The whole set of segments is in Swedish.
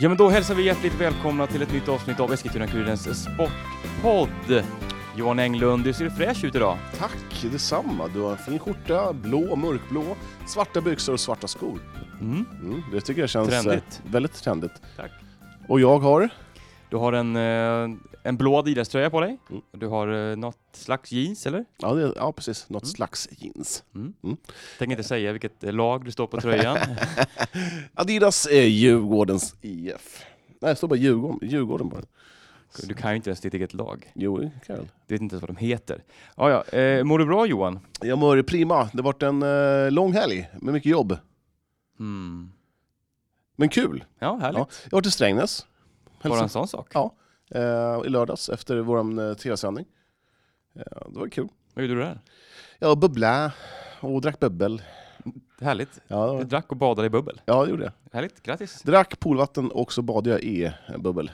Ja, men då hälsar vi hjärtligt välkomna till ett nytt avsnitt av Eskilstuna-Kurirens Sportpodd. Johan Englund, du ser fräsch ut idag. Tack detsamma. Du har en fin skjorta, blå, mörkblå, svarta byxor och svarta skor. Mm. Mm, det tycker jag känns eh, Trendigt. väldigt trendigt. Tack. Och jag har, Du har en, eh, en blå Adidas-tröja på dig. Mm. Du har eh, något slags jeans, eller? ja, det, ja precis, något slags jeans. Tänker inte säga vilket eh, lag du står på tröjan. Adidas är Djurgårdens IF. Nej, det står bara Djurgården, Djurgården bara. du kan ju inte ens ditt eget lag. Jo, Karl. Du vet inte ens vad de heter. Ah, ja. eh, mår du bra Johan? Jag mår prima. Det har varit en eh, lång helg med mycket jobb. Mm. Men kul. Ja, härligt. Ja, jag har varit i Strängnäs. Bara en Hälsat, sån sak. Ja. eh, I lördags efter vår eh, tv-sändning. Eh, det var kul. Vad gjorde du där? Jag bubblade och drack bubbel. Härligt. Ja, det var- Du drack och badade i bubbel. Ja, det gjorde jag. Härligt, grattis. Drack poolvatten och så badade jag i en bubbel.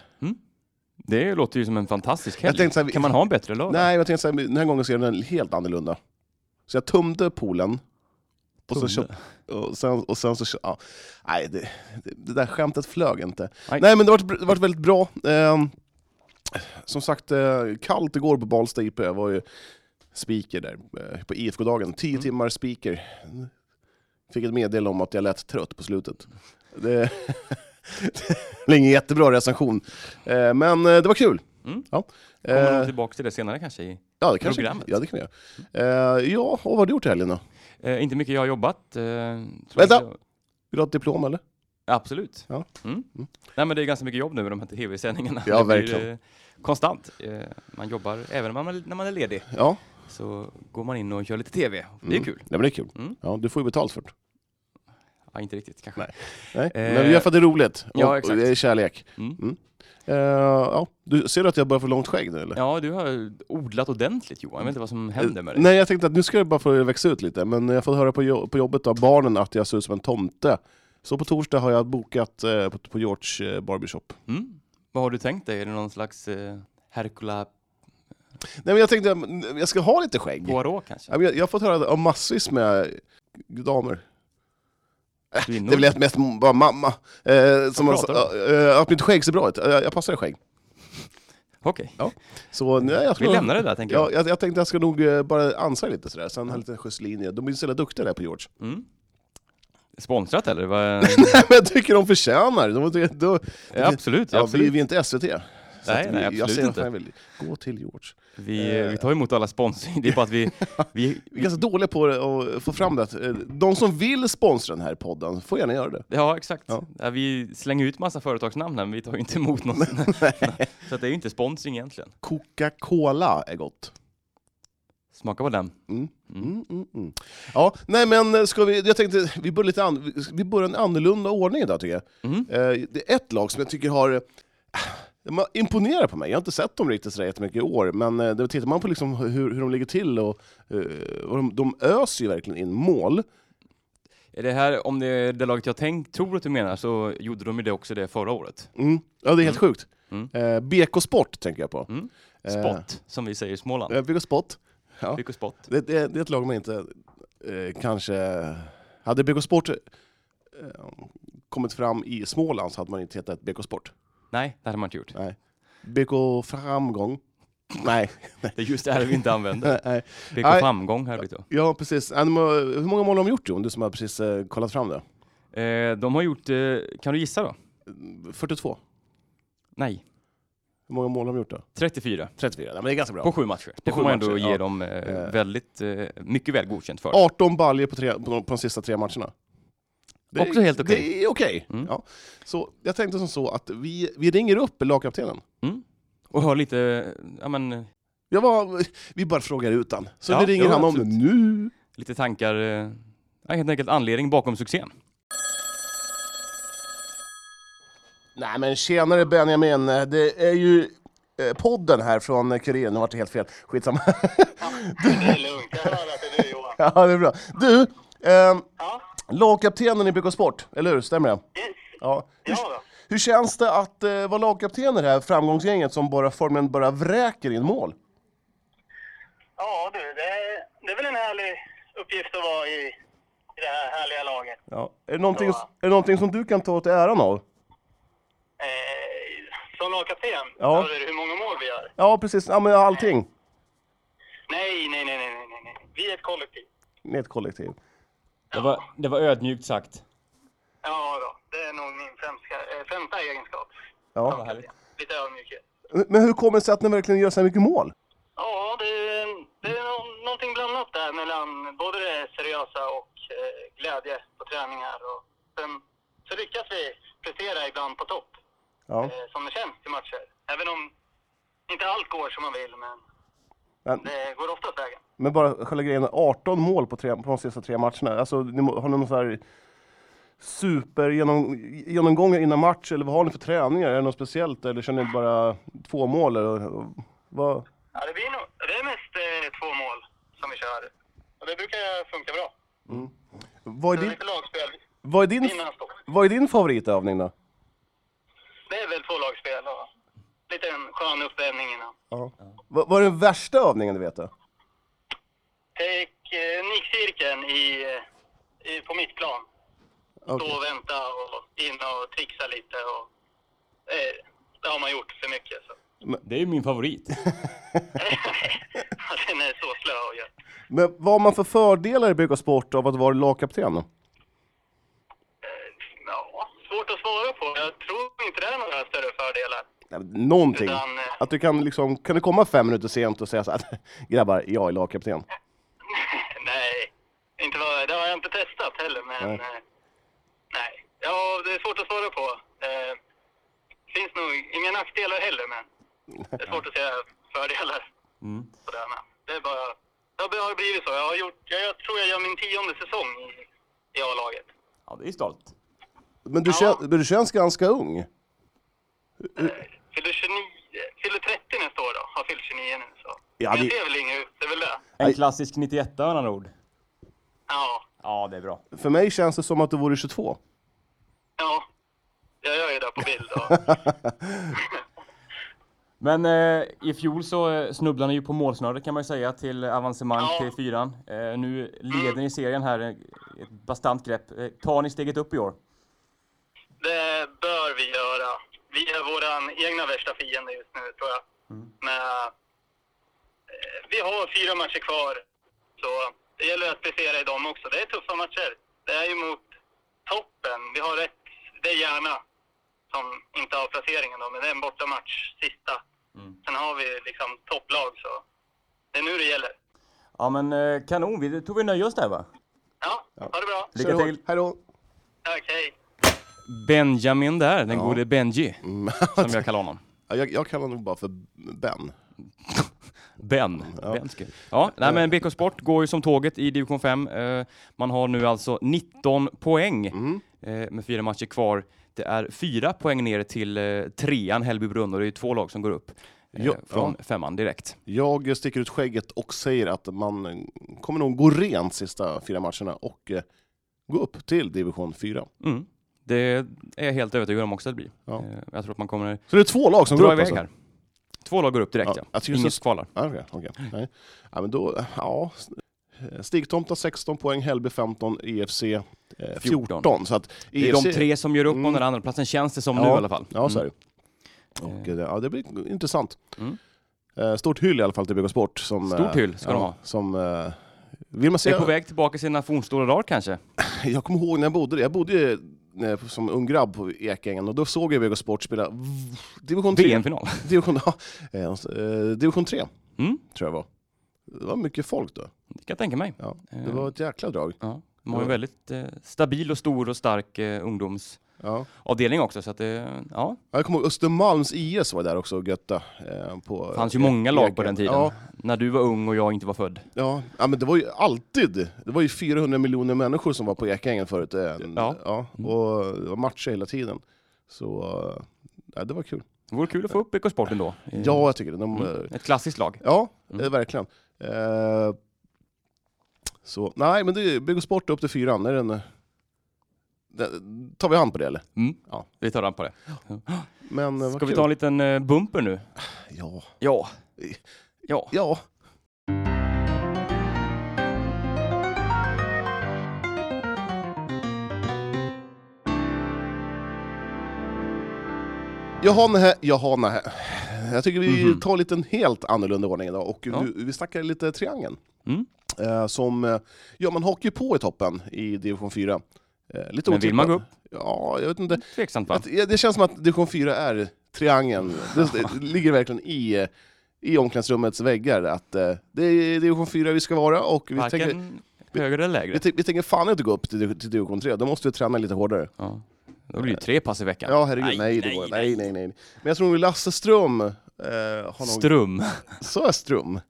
Det låter ju som en fantastisk Jag helg. tänkte så här, vi- Kan man ha en bättre lördag? Nej, jag tänkte så här, den här gången ska jag göra den helt annorlunda. Så jag tömde poolen. Och sen, Tunde. köpt, och sen, och sen så... kö- Ja, nej, det, det, det där skämtet flög inte. Nej. Nej, men det var, det var väldigt bra. Ehm, som sagt, eh, kallt igår på Balsta IP. Jag var ju speaker där eh, på IFK-dagen. Tio Mm. timmar speaker. Fick ett meddelande om att jag lät trött på slutet. Det, det är ingen jättebra recension. Eh, men eh, det var kul. Mm. Ja. Kommer nog Eh, tillbaka till det senare kanske. i- Ja, det kanske Programmet. Ja, det kan jag göra. Eh, ja, och vad har du gjort i helgen då? Eh, inte mycket jag har jobbat. Eh, tror Vänta! inte jag- Vill du ha ett diplom eller? Absolut. Ja. Mm. Mm. Nej, men det är ganska mycket jobb nu med de här tv-sändningarna. Ja, Det blir, verkligen. eh, konstant. Eh, man jobbar, även när man, när man är ledig, Ja, så går man in och gör lite tv. Det är Mm. kul. nej, men det är kul. Mm. Ja, du får ju betalt för det. Ja, inte riktigt kanske. Nej. Nej? Eh, Men du gör för att det är roligt. Och, ja, exakt. och det är kärlek. Mm. Eh, ja. du, ser du att jag börjar få långt skägg nu eller? Ja, du har odlat ordentligt Johan. Jag vet inte vad som händer med Eh, dig. Nej, jag tänkte att nu ska jag bara få växa ut lite, men jag får höra på, jo- på jobbet av barnen att jag ser ut som en tomte. Så på torsdag har jag bokat eh, på, på George eh, Barbershop. Mm. Vad har du tänkt dig? Är det någon slags eh, Hercula Nej men jag tänkte att jag ska ha lite skägg. Poirot kanske? Ja, men Jag, jag har fått höra av massvis med damer. Kvinnor? Det är väl mest bara mamma. Eh, som Vad man, pratar eh, att mitt skägg ser bra ut. Eh, jag passar i skägg. Okej, Så nej, jag vi tror... lämnar det där tänker jag. Ja, jag, jag tänkte jag ska nog eh, bara ansa lite sådär, sen ha lite schysst linje. De är ju så jävla duktiga där på George. Mm. Sponsrat eller? Vad- Nej, men jag tycker de förtjänar. De, de, de, Ja, absolut, ja, vi, absolut. vi är inte SVT. Så Nej, att nej, jag absolut säger inte. vad Jag vill. Gå till George. Vi, Eh. vi tar emot alla sponsring. Det är bara att vi... vi Vi är ganska dåliga på att få fram det. att, eh, De som vill sponsra den här podden får gärna göra det. ja, exakt. Ja. Ja, vi slänger ut massa företagsnamn här, men vi tar ju inte emot någon. Så att det är ju inte sponsring egentligen. Coca-Cola är gott. Smaka på den. Mm. Mm. Mm, mm, mm. Ja, nej men eh, ska vi, jag tänkte, vi börjar, lite an, vi börjar en annorlunda ordning idag tycker jag. Mm. Eh, Det är ett lag som jag tycker har eh, de har imponerat på mig. Jag har inte sett dem riktigt så jättemycket i år, men eh, då tittar man på liksom hur, hur de ligger till och, eh, och de, de öser ju verkligen in mål. Är det här, om det är det laget jag tänkt, tror att du menar, så gjorde de ju det också det förra året. Mm. Ja, det är helt sjukt. Mm. Eh, BK Sport tänker jag på. Mm. Eh, Spott, som vi säger i Småland. Ja, BK Sport. ja. Fick och spott. Det, det, det är ett lag man inte eh, kanske... Hade BK Sport eh, kommit fram i Småland så hade man inte hetat BK Sport. Nej, det hade man inte gjort. BK Framgång? Nej. Det är just det här vi inte använder. nej. BK Nej. Framgång här blivit då. Ja, precis. Ja, de har- Hur många mål har de gjort Jon, du som har precis eh, kollat fram det? Eh, de har gjort, eh, kan du gissa då? 42. Nej, Hur många mål har de gjort då? 34 34. Nej, men det är ganska bra. på sju matcher. Det På får sju man ändå matcher, ge ja. dem eh, Eh. väldigt, eh, mycket väl godkänt för. 18 baljer på, tre- på, de- på de sista tre matcherna. Det är- Också helt okej. Det är okej. Mm. Ja. Så jag tänkte som så att vi, vi ringer upp lagkaptenen. Och har lite, eh, ja men, Jag var, vi bara frågar ut han. Så Ja, vi ringer jo, han om det absolut. nu. lite tankar, eh, ja, helt enkelt anledning bakom succén. Nej men tjenare Benjamin, det är ju eh, podden här från eh, Kuriren, nu vart det helt fel, skitsamma. Det är lugnt, jag hör att det är du Johan. ja det är bra. Du, ehm, Ja, lagkaptenen i BK Sport, eller hur? Stämmer det? yes. Ja. Hur, Ja då. hur känns det att eh, vara lagkapten i det här framgångsgänget som bara formen bara vräker in mål? ja du, det är, det är väl en härlig uppgift att vara i, i det här härliga laget. Ja. Är, det någonting, Ja. är det någonting som du kan ta åt dig äran av? Eh, som lagkapten? Ja. Hör du hur många mål vi gör? Ja, precis. Ja, men allting. Nej, nej, nej, nej, nej, nej. Vi är ett kollektiv. Ni är ett kollektiv. Det var, det var ödmjukt sagt. Ja, då. det är nog min främsta, eh, främsta egenskap. Ja. Lite ödmjukhet. Men hur kommer det sig att ni verkligen gör så här mycket mål? Ja, det är, det är nå- någonting blandat där mellan både det seriösa och eh, glädje på träningar. Och sen så lyckas vi prestera ibland på topp, Ja. eh, som det känns till matcher. Även om inte allt går som man vill, men Men, det går oftast vägen. men bara själva grejen, 18 mål på, tre, på de sista tre matcherna. Alltså, ni, må- har ni någon sån här super genom, genomgångar innan match, eller vad har ni för träningar? Är det något speciellt, eller kör ni bara två mål? Eller, och, vad? Ja, det, blir nog, det är mest eh, två mål som vi kör, och det brukar funka bra. Vad, är Det är din, lite lagspel vad, är din, innan stopp. vad är din favoritövning då? Det är väl två lagspel och lite en skön uppvärmning innan. Ja. Vad, vad är den värsta övningen du vet? Då? Take eh, nickcirkeln i, eh, i, på mittplan. Stå Okej. och vänta och in och trixa lite. Och, eh, det har man gjort för mycket. Så. Det är ju min favorit. Den är så slö och gött. Men vad har man för fördelar i Brygga Sport av att vara lagkapten? då? Ja, svårt att svara på. Jag tror inte det är några större fördelar. Nej, men Någonting. Utan, eh, Att du kan liksom, kan du komma fem minuter sent och säga så här, grabbar, jag är lagkapten. nej, inte vad, det har jag inte testat heller. Men Nej. nej. Eh, nej. Ja, det är svårt att svara på. Eh, finns nog inga nackdelar heller, men det är svårt att säga fördelar. Sådär, men det är bara, det har bara blivit så. Jag, har gjort, jag, jag tror jag gör min tionde säsong i, i A-laget. Ja, det är stolt. Men du, Ja. kän, men du känns ganska ung. Fyller 29, fyller 30 nästa år då, har fyllt 29 nu. Så. Ja, men det- jag ser väl inget ut, det är väl det. En klassisk 91 med andra ord. Ja, Ja, det är bra. För mig känns det som att du vore 22. ja. Jag gör ju det på bild. Och, Men eh, i fjol så eh, snubblade ni ju på målsnöret kan man ju säga till avancemang Ja. till fyran. Eh, nu leder ni serien här, eh, ett bastant grepp. Eh, tar ni steget upp i år? Det bör vi göra. Vi är vår egna värsta fiende just nu, tror jag. Men eh, vi har fyra matcher kvar, så det gäller att prestera i dem också. Det är tuffa matcher. Det är ju mot toppen. Vi har rätt. Det är Järna som inte har placeringen då, men det är en bortamatch, sista. Sen har vi liksom topplag, så det är nu det gäller. Ja men eh, kanon, vi tror vi nöjer oss där va? Ja, ha det bra. Lycka till! Hej då. Tack, hej. Benjamin där, den gode Mm. Benji, som jag kallar honom. Ja, Jag, jag kallar honom bara för Ben. Ben. ben ska- ja, nej, men BK Sport går ju som tåget i division 5. Eh, man har nu alltså 19 poäng Mm. eh, med fyra matcher kvar. Det är fyra poäng ner till eh, trean Hällbybrunn och det är ju två lag som går upp eh, Ja, från femman direkt. Jag sticker ut skägget och säger att man eh, kommer nog gå rent sista fyra matcherna och eh, gå upp till division 4. Mm. Det är jag helt övertygad om också att det blir. Ja. Eh, jag tror att man kommer Så det är två lag som dra går upp iväg alltså? här. Två lag går upp direkt Ja, ja. Mm. jag tycker Inget så- kvalar. Ah, Okej, okej. Nej. Ja, men då, ja. Stigtomta 16 poäng, Hällby 15, EFC eh, 14. 14. Så att Det är de EFC tre som gör upp Mm. om den andra platsen känns det som ja, nu i alla fall. Ja, så är Mm. det. Och, eh, ja, det blir intressant. Mm. Eh, Stort hyll i alla fall till BK Sport. Som, Stort eh, hyll ska ja, de ha. Som, eh, vill Är man på säga, väg tillbaka till sina fornstora dagar kanske? jag kommer ihåg när jag bodde där. Jag bodde ju, eh, som ung grabb på Ekängen och då såg jag BK Sport spela v- division 3. VM-final. Division, ja, eh, division 3, Mm. tror jag var. Det var mycket folk då. Det kan jag tänka mig. Ja, det Eh. var ett jäkla drag. Ja, de har ju väldigt eh, stabil och stor och stark eh, ungdomsavdelning Ja. också. Så att det, ja, Ja, Jag kommer ihåg Östermalms IS var där också och götta. Eh, på, det fanns ju många lag på Eken. den tiden. Ja, När du var ung och jag inte var född. ja. ja, men det var ju alltid, det var ju 400 miljoner människor som var på Ekängen förut. Eh, Ja. Mm. och det var matcher hela tiden. Så eh, ja, det var kul. Det vore kul att få upp BK Sport ändå. Eh, Ja, jag tycker det. De, eh, Ett klassiskt lag. Ja, eh, Mm. verkligen. Eh, så, nej, men det är Bygg och Sport upp till fyran. Är den, eh, den, tar vi hand på det eller? Mm. Ja. Vi tar an på det. Men, eh, vad Ska vi kul. ta en liten eh, bumper nu? Ja. Ja. Ja. ja. Jaha, nähä, jaha, nähä. Jag tycker vi Mhm. tar lite en helt annorlunda ordning idag och vi, vi snackar lite triangeln. Mm. Eh, som, eh, ja man hakar ju på i toppen i division 4. Eh, lite Men vill man otippat. gå upp? Ja, jag vet inte. Tveksamt va? Att, ja, det känns som att division 4 är triangeln. Det, det ligger verkligen i, eh, i omklädningsrummets väggar. Att, eh, det är division 4 vi ska vara och vi tänker, Varken högre eller lägre. vi, tänker- vi tänker fan inte gå upp till, till division 3, då måste vi träna lite hårdare. Ja. Då blir det tre pass i veckan. Ja, herregud. Nej, det går nej, nej, nej. Men jag tror Lasse Ström... Eh, har nog... Strum. Sa jag Ström?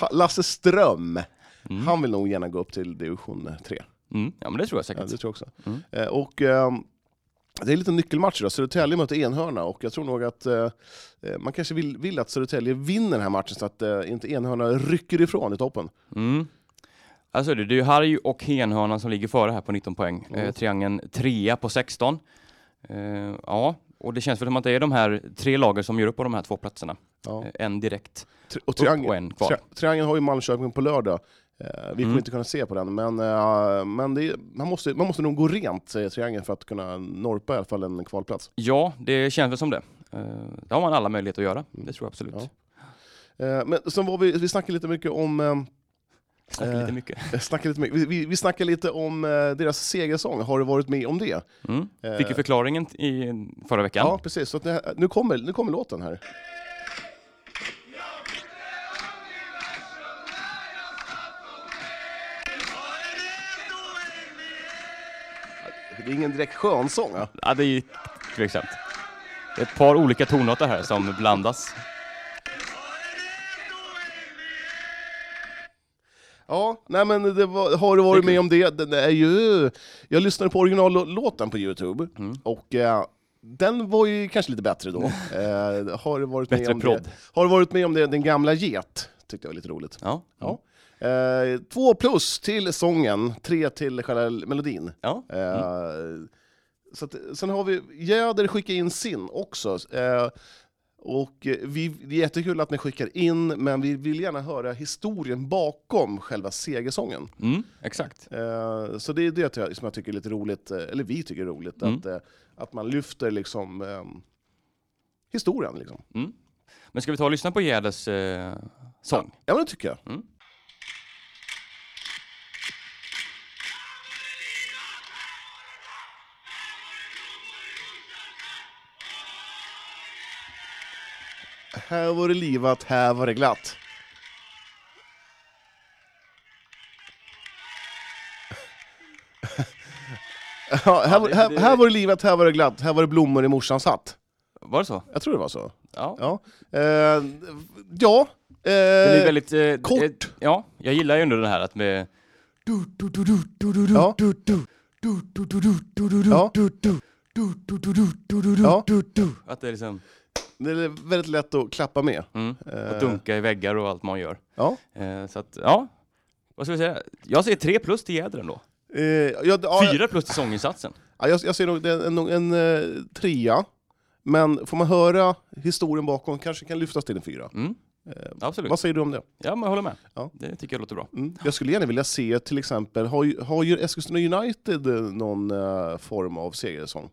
Ha, Lasse Ström. Han vill nog gärna gå upp till division 3. Mm. Ja men det tror jag Ja, det säkert. tror jag också. Eh, och, ehm, det är lite nyckelmatch idag. Södertälje möter Enhörna och jag tror nog att eh, eh, man kanske vill, vill att Södertälje vinner den här matchen så att eh, inte Enhörna rycker ifrån i toppen. Mm. Alltså det, det är ju Harry och Henhörnan som ligger före här på 19 poäng. Mm. Eh, triangeln trea på 16. Eh, ja, och det känns väl som att det är de här tre lagen som gör upp på de här två platserna. Ja. Eh, en direkt. Tri- och och triangeln, en kvar. tri- triangeln har ju Malmköping på lördag. Eh, vi kommer inte kunna se på den, men, eh, men det är, man, måste, man måste nog gå rent, säger triangeln, för att kunna norpa i alla fall en kvalplats. Ja, det känns väl som det. Eh, det har man alla möjligheter att göra. Det tror jag absolut. Mm. Ja. Eh, men sen var vi, vi snackade lite mycket om eh, Snackar lite mycket. Eh, snackade lite, mycket- vi, vi, vi snackade lite om eh, deras segersång, har du varit med om det? Mm. Eh, Fick ju förklaringen i förra veckan. Ja, precis. Så att det här, nu, kommer, nu kommer låten här. Det är ingen direkt skönsång. Ja. Ja, det är ju tveksamt. Det är ett par olika tonarter här som blandas. Ja, nej men det var, har du varit med om det? Den är ju... Jag lyssnade på originallåten på Youtube, och eh, den var ju kanske lite bättre då. eh, har du varit med Bättre om prodd. det? Har du varit med om det? Den gamla get, tyckte jag var lite roligt. Ja. Ja. Eh, två plus till sången, tre till själva melodin. Ja. Eh, så att, sen har vi Jäder skickar in sin också. Eh, och eh, vi, det är jättekul att ni skickar in, men vi vill gärna höra historien bakom själva segersången. Mm, exakt. Eh, så det är det jag- som jag tycker är lite roligt, eh, eller vi tycker är roligt, att, eh, att man lyfter liksom, ehm, historien. Liksom. Men ska vi ta och lyssna på Gärdes eh, sång? Ja, men det tycker jag. Här var det livat, här var det glatt. Ja, här, var- här, här var det livat, här var det glatt, här var det blommor i morsans hatt. Var det så? Jag tror det var så. Ja. Ja. Eh, ja. Den är Eh, väldigt... Eh, kort. eh, ja, jag gillar ju ändå den här att med... Ja. Ja. Ja. Att det är liksom... Det är väldigt lätt att klappa med. Mm, att Eh, dunka i väggar och allt man gör. Ja. Eh, så att, ja. Vad ska vi säga? Jag säger tre plus till Gädren då. Eh, jag, ja, Fyra plus till sånginsatsen. Ja, jag, jag ser nog det är en, en, eh, trea, men får man höra historien bakom kanske kan lyftas till en fyra. Mm. Absolut. Vad säger du om det? Ja, men jag håller med. Ja. Det tycker jag låter bra. Mm. Jag skulle gärna vilja se till exempel, har, ju- har ju Eskilstuna United eh, någon eh, form av segersång?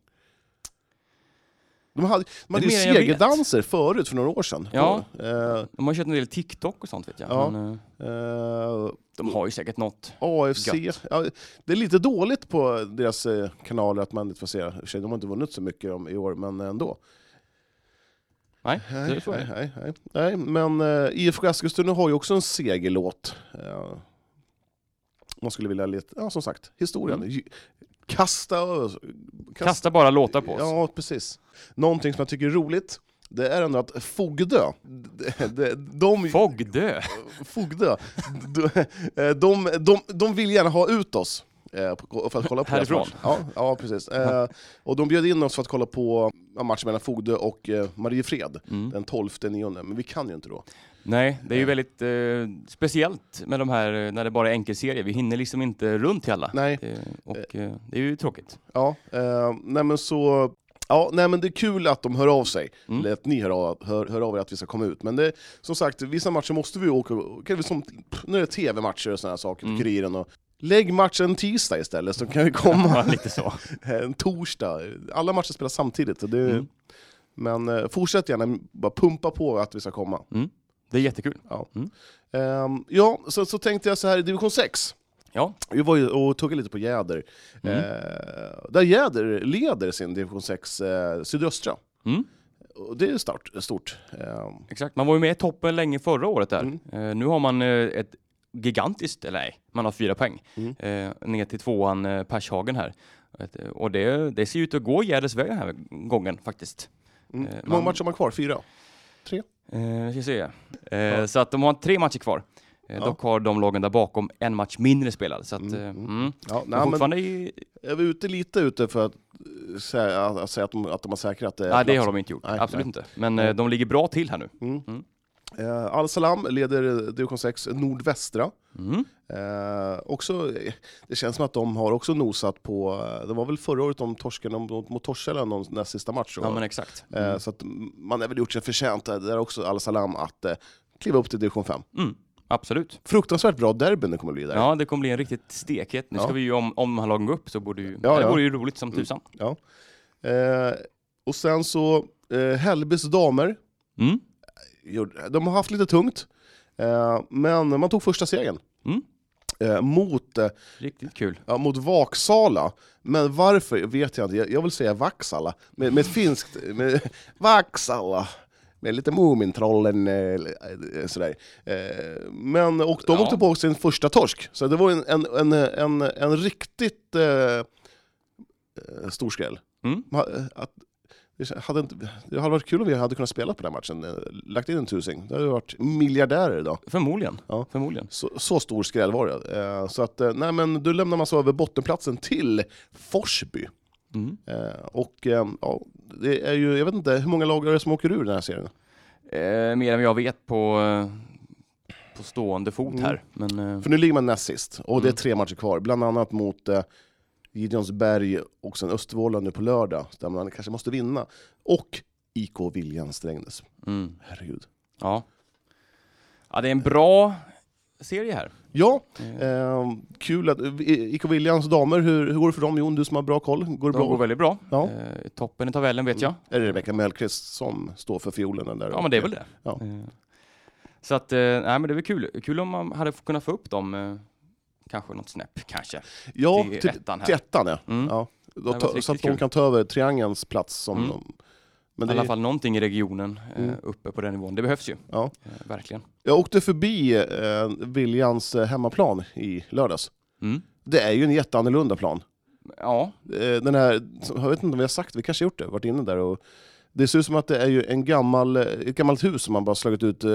De hade, de hade ju mer än jag vet. segerdanser förut, för några år sedan. Ja. Eh, De har kört en del TikTok och sånt vet jag. Ja. Men, eh, eh, de har ju säkert något. AFC. Gött. Ja, det är lite dåligt på deras eh, kanaler att man inte får se. I och för sig, De har inte vunnit så mycket om- i år, men ändå. Nej, det är så nej, det. nej, nej, nej. Men eh, IFK Eskilstuna har ju också en segerlåt. Eh, man skulle vilja leta, ja som sagt, historien. Ju- Kasta över... Mm. Kasta bara låtar på oss. Ja, precis. Någonting som jag tycker är roligt, det är ändå att Fogdö, de, de, de, Fogdö. Fogdö, de, eh, de, de, de vill gärna ha ut oss. eh, på- För att kolla på deras Härifrån? match. Ja, ja precis. Eh, och de bjöd in oss för att kolla på en match mellan Fogdö och eh, Mariefred den 12 nionde, men vi kan ju inte då. Nej, det är ju väldigt eh, speciellt med de här eh, när det bara är enkelserie. Vi hinner liksom inte runt till alla. Nej. Eh, och eh, det är ju tråkigt. Ja, eh, nej men så... Ja, nej men det är kul att de hör av sig, eller att ni hör av, hör, hör av er att vi ska komma ut. Men det, som sagt, vissa matcher måste vi åka, kan vi som, pff, nu är det tv-matcher och sådana saker, på Kuriren och... Lägg matchen tisdag istället så kan vi komma. Lite så. Eh, Mm. en torsdag. Alla matcher spelas samtidigt. Och det, Men eh, fortsätt gärna bara pumpa på att vi ska komma. Det är jättekul. Ja, Ehm, ja så, så tänkte jag så här i division 6. Ja. Mm. Vi var ju och tuggade lite på Jäder. Eh, där Jäder leder sin division 6 eh, sydöstra. Mm. Och det är start, stort. Ehm, Exakt, man var ju med i toppen länge förra året där. Eh, nu har man eh, ett gigantiskt, eller nej, man har fyra poäng eh, ner till tvåan eh, Pershagen här. Ett, eh, och det, det ser ut att gå Gärdes väg den här gången faktiskt. mm. Eh, Hur många man- matcher har man kvar? Fyra? Eh, ska se. Eh, Så att de har tre matcher kvar. Eh, Dock har de lagen där bakom en match mindre spelad. Så att, eh, mm. Ja, Men nej, men fortfarande i, är vi ute lite ute för att eh, säga, att säga att, de, att de har säkrat eh, nej, det har plats? de inte gjort. Nej, Absolut nej. inte. Men eh, de ligger bra till här nu. Eh, Al-Salam leder eh, division 6 nordvästra. Mm. Eh, också, eh, det känns som att de har också nosat på, eh, det var väl förra året de torskade mot mot Torshälla någon näst sista match. då, Ja, va? men exakt. Eh, Så att mm, man har väl gjort sig förtjänt eh, där också, Al-Salam, att eh, kliva upp till division 5. Mm. Absolut. Fruktansvärt bra derbyn det kommer att bli där. Ja, det kommer bli en riktigt stekhet. Nu Ja. ska vi ju, om, om han lagen går upp så borde ju, Ja, det ja. Mm. vore ju roligt som tusan. Eh, och sen så, eh, Hällbys damer, Mm. gjorde- de har haft lite tungt, eh, men man tog första segern. Mm. Eh, mot, eh, Riktigt kul. ja, mot Vaksala, men varför vet jag inte. Jag, jag vill säga Vaksala, med, med ett finskt... Med, Vaksala! Med lite Mumintrollen eh, eh, sådär. Eh, Men, och de Ja. åkte på sin första torsk, så det var en, en, en, en, en riktigt eh, eh, stor skräll. Mm. Ma- Att, det hade, inte, det hade varit kul om vi hade kunnat spela på den här matchen, eh, lagt in en tusing. Då hade vi varit miljardärer idag. Förmodligen. Ja. Förmodligen. Så, så stor skräll var det. Eh, så att, eh, nej, men du lämnar man så över bottenplatsen till Forsby. Mm. Eh, och eh, ja, det är ju, jag vet inte, hur många lag är det som åker ur den här serien? Eh, mer än vad jag vet på, eh, på stående fot Mm. här. Men, eh, För nu ligger man näst sist, och det Mm. är tre matcher kvar. Bland annat mot eh, Gideonsberg och sen Östervåla nu på lördag, där man kanske måste vinna. Och IK Viljan Strängnäs. mm. Herregud. Ja. ja, det är en bra serie här. Ja, eh, kul att... eh, IK Viljans damer, hur, hur går det för dem? Jon, du som har bra koll. Går det De bra? går väldigt bra. Ja. Mm. Eh, toppen i tabellen vet jag. Är det Rebecka Mellqvist som står för fiolen? Där? Ja, men det är väl det. Ja. Eh, Så att, eh, nej men det är väl kul. Kul om man hade f- kunnat få upp dem eh, kanske något snäpp, kanske. Ja, typ till till ettan här. till ettan ja. Mm. ja. Då Det var ta, riktigt så att de kul. kan ta över triangelns plats. Som Mm. de, I men det, Mm. alla fall någonting i regionen eh, uppe på den nivån. Det behövs ju. Ja. Eh, verkligen. Jag åkte förbi eh, Viljans eh, hemmaplan i lördags. Mm. Det är ju en jätteannorlunda plan. Ja, Eh, den här, jag vet inte om vi har sagt vi kanske har gjort det, varit inne där. Och, det ser ut som att det är ju en gammal, eh, ett gammalt hus som man bara slagit ut eh,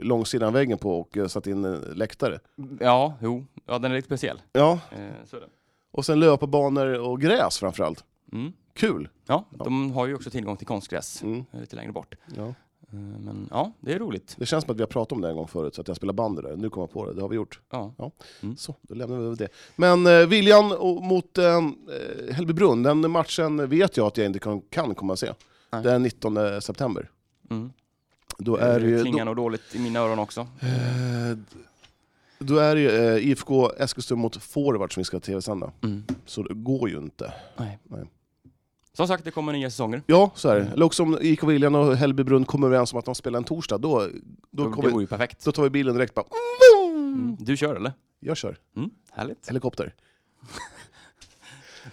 långsidan av väggen på och eh, satt in eh, läktare. ja, jo. Ja, den är lite speciell. Ja, Eh, så är det. och sen löparbanor och gräs framförallt. Mm. Kul! Ja, de har ju också tillgång till konstgräs Mm. eh, lite längre bort. Ja. Eh, Men ja, det är roligt. Det känns som att vi har pratat om det en gång förut, så att jag spelar bandy där. Nu kommer jag på det, det har vi gjort. Ja. Så, då lämnar vi över det. Men eh, Viljan och, mot eh, eh, Hällbybrunn, den matchen vet jag att jag inte kan, kan komma att se. Nej. Den 19 september. Mm. Då är Är det ju, klingar då, nog dåligt i mina öron också. eh, då är det ju eh, IFK Eskilstuna mot forward som vi ska tv-sända. Mm. Så det går ju inte. Som sagt, det kommer nya säsonger. Ja, så är Mm. det. Eller också om IK Viljan och Hällbybrunn kommer överens om att de spelar en torsdag, då, då, Då kommer, det vore ju perfekt. då tar vi bilen direkt bara... Mm. Du kör eller? Jag kör. Mm. Härligt. Helikopter.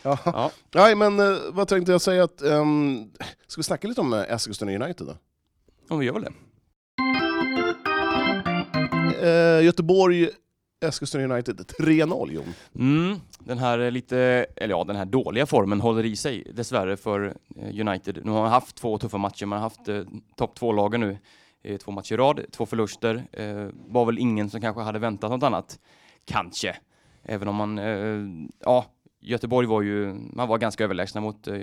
ja. Ja. Nej, men eh, vad tänkte jag säga? Att, ehm, ska vi snacka lite om eh, Eskilstuna United då? Om vi gör väl det. Eh, Göteborg, Eskilstuna United 3-0 Jon. Mm. Den här eh, lite, eller ja, den här dåliga formen håller i sig dessvärre för eh, United. Nu har man haft två tuffa matcher, man har haft eh, topp två-lagen nu. eh, Två matcher i rad, två förluster. Eh, var väl ingen som kanske hade väntat något annat. Kanske. Även om man, eh, ja, Göteborg var ju, man var ganska överlägsna mot, eh,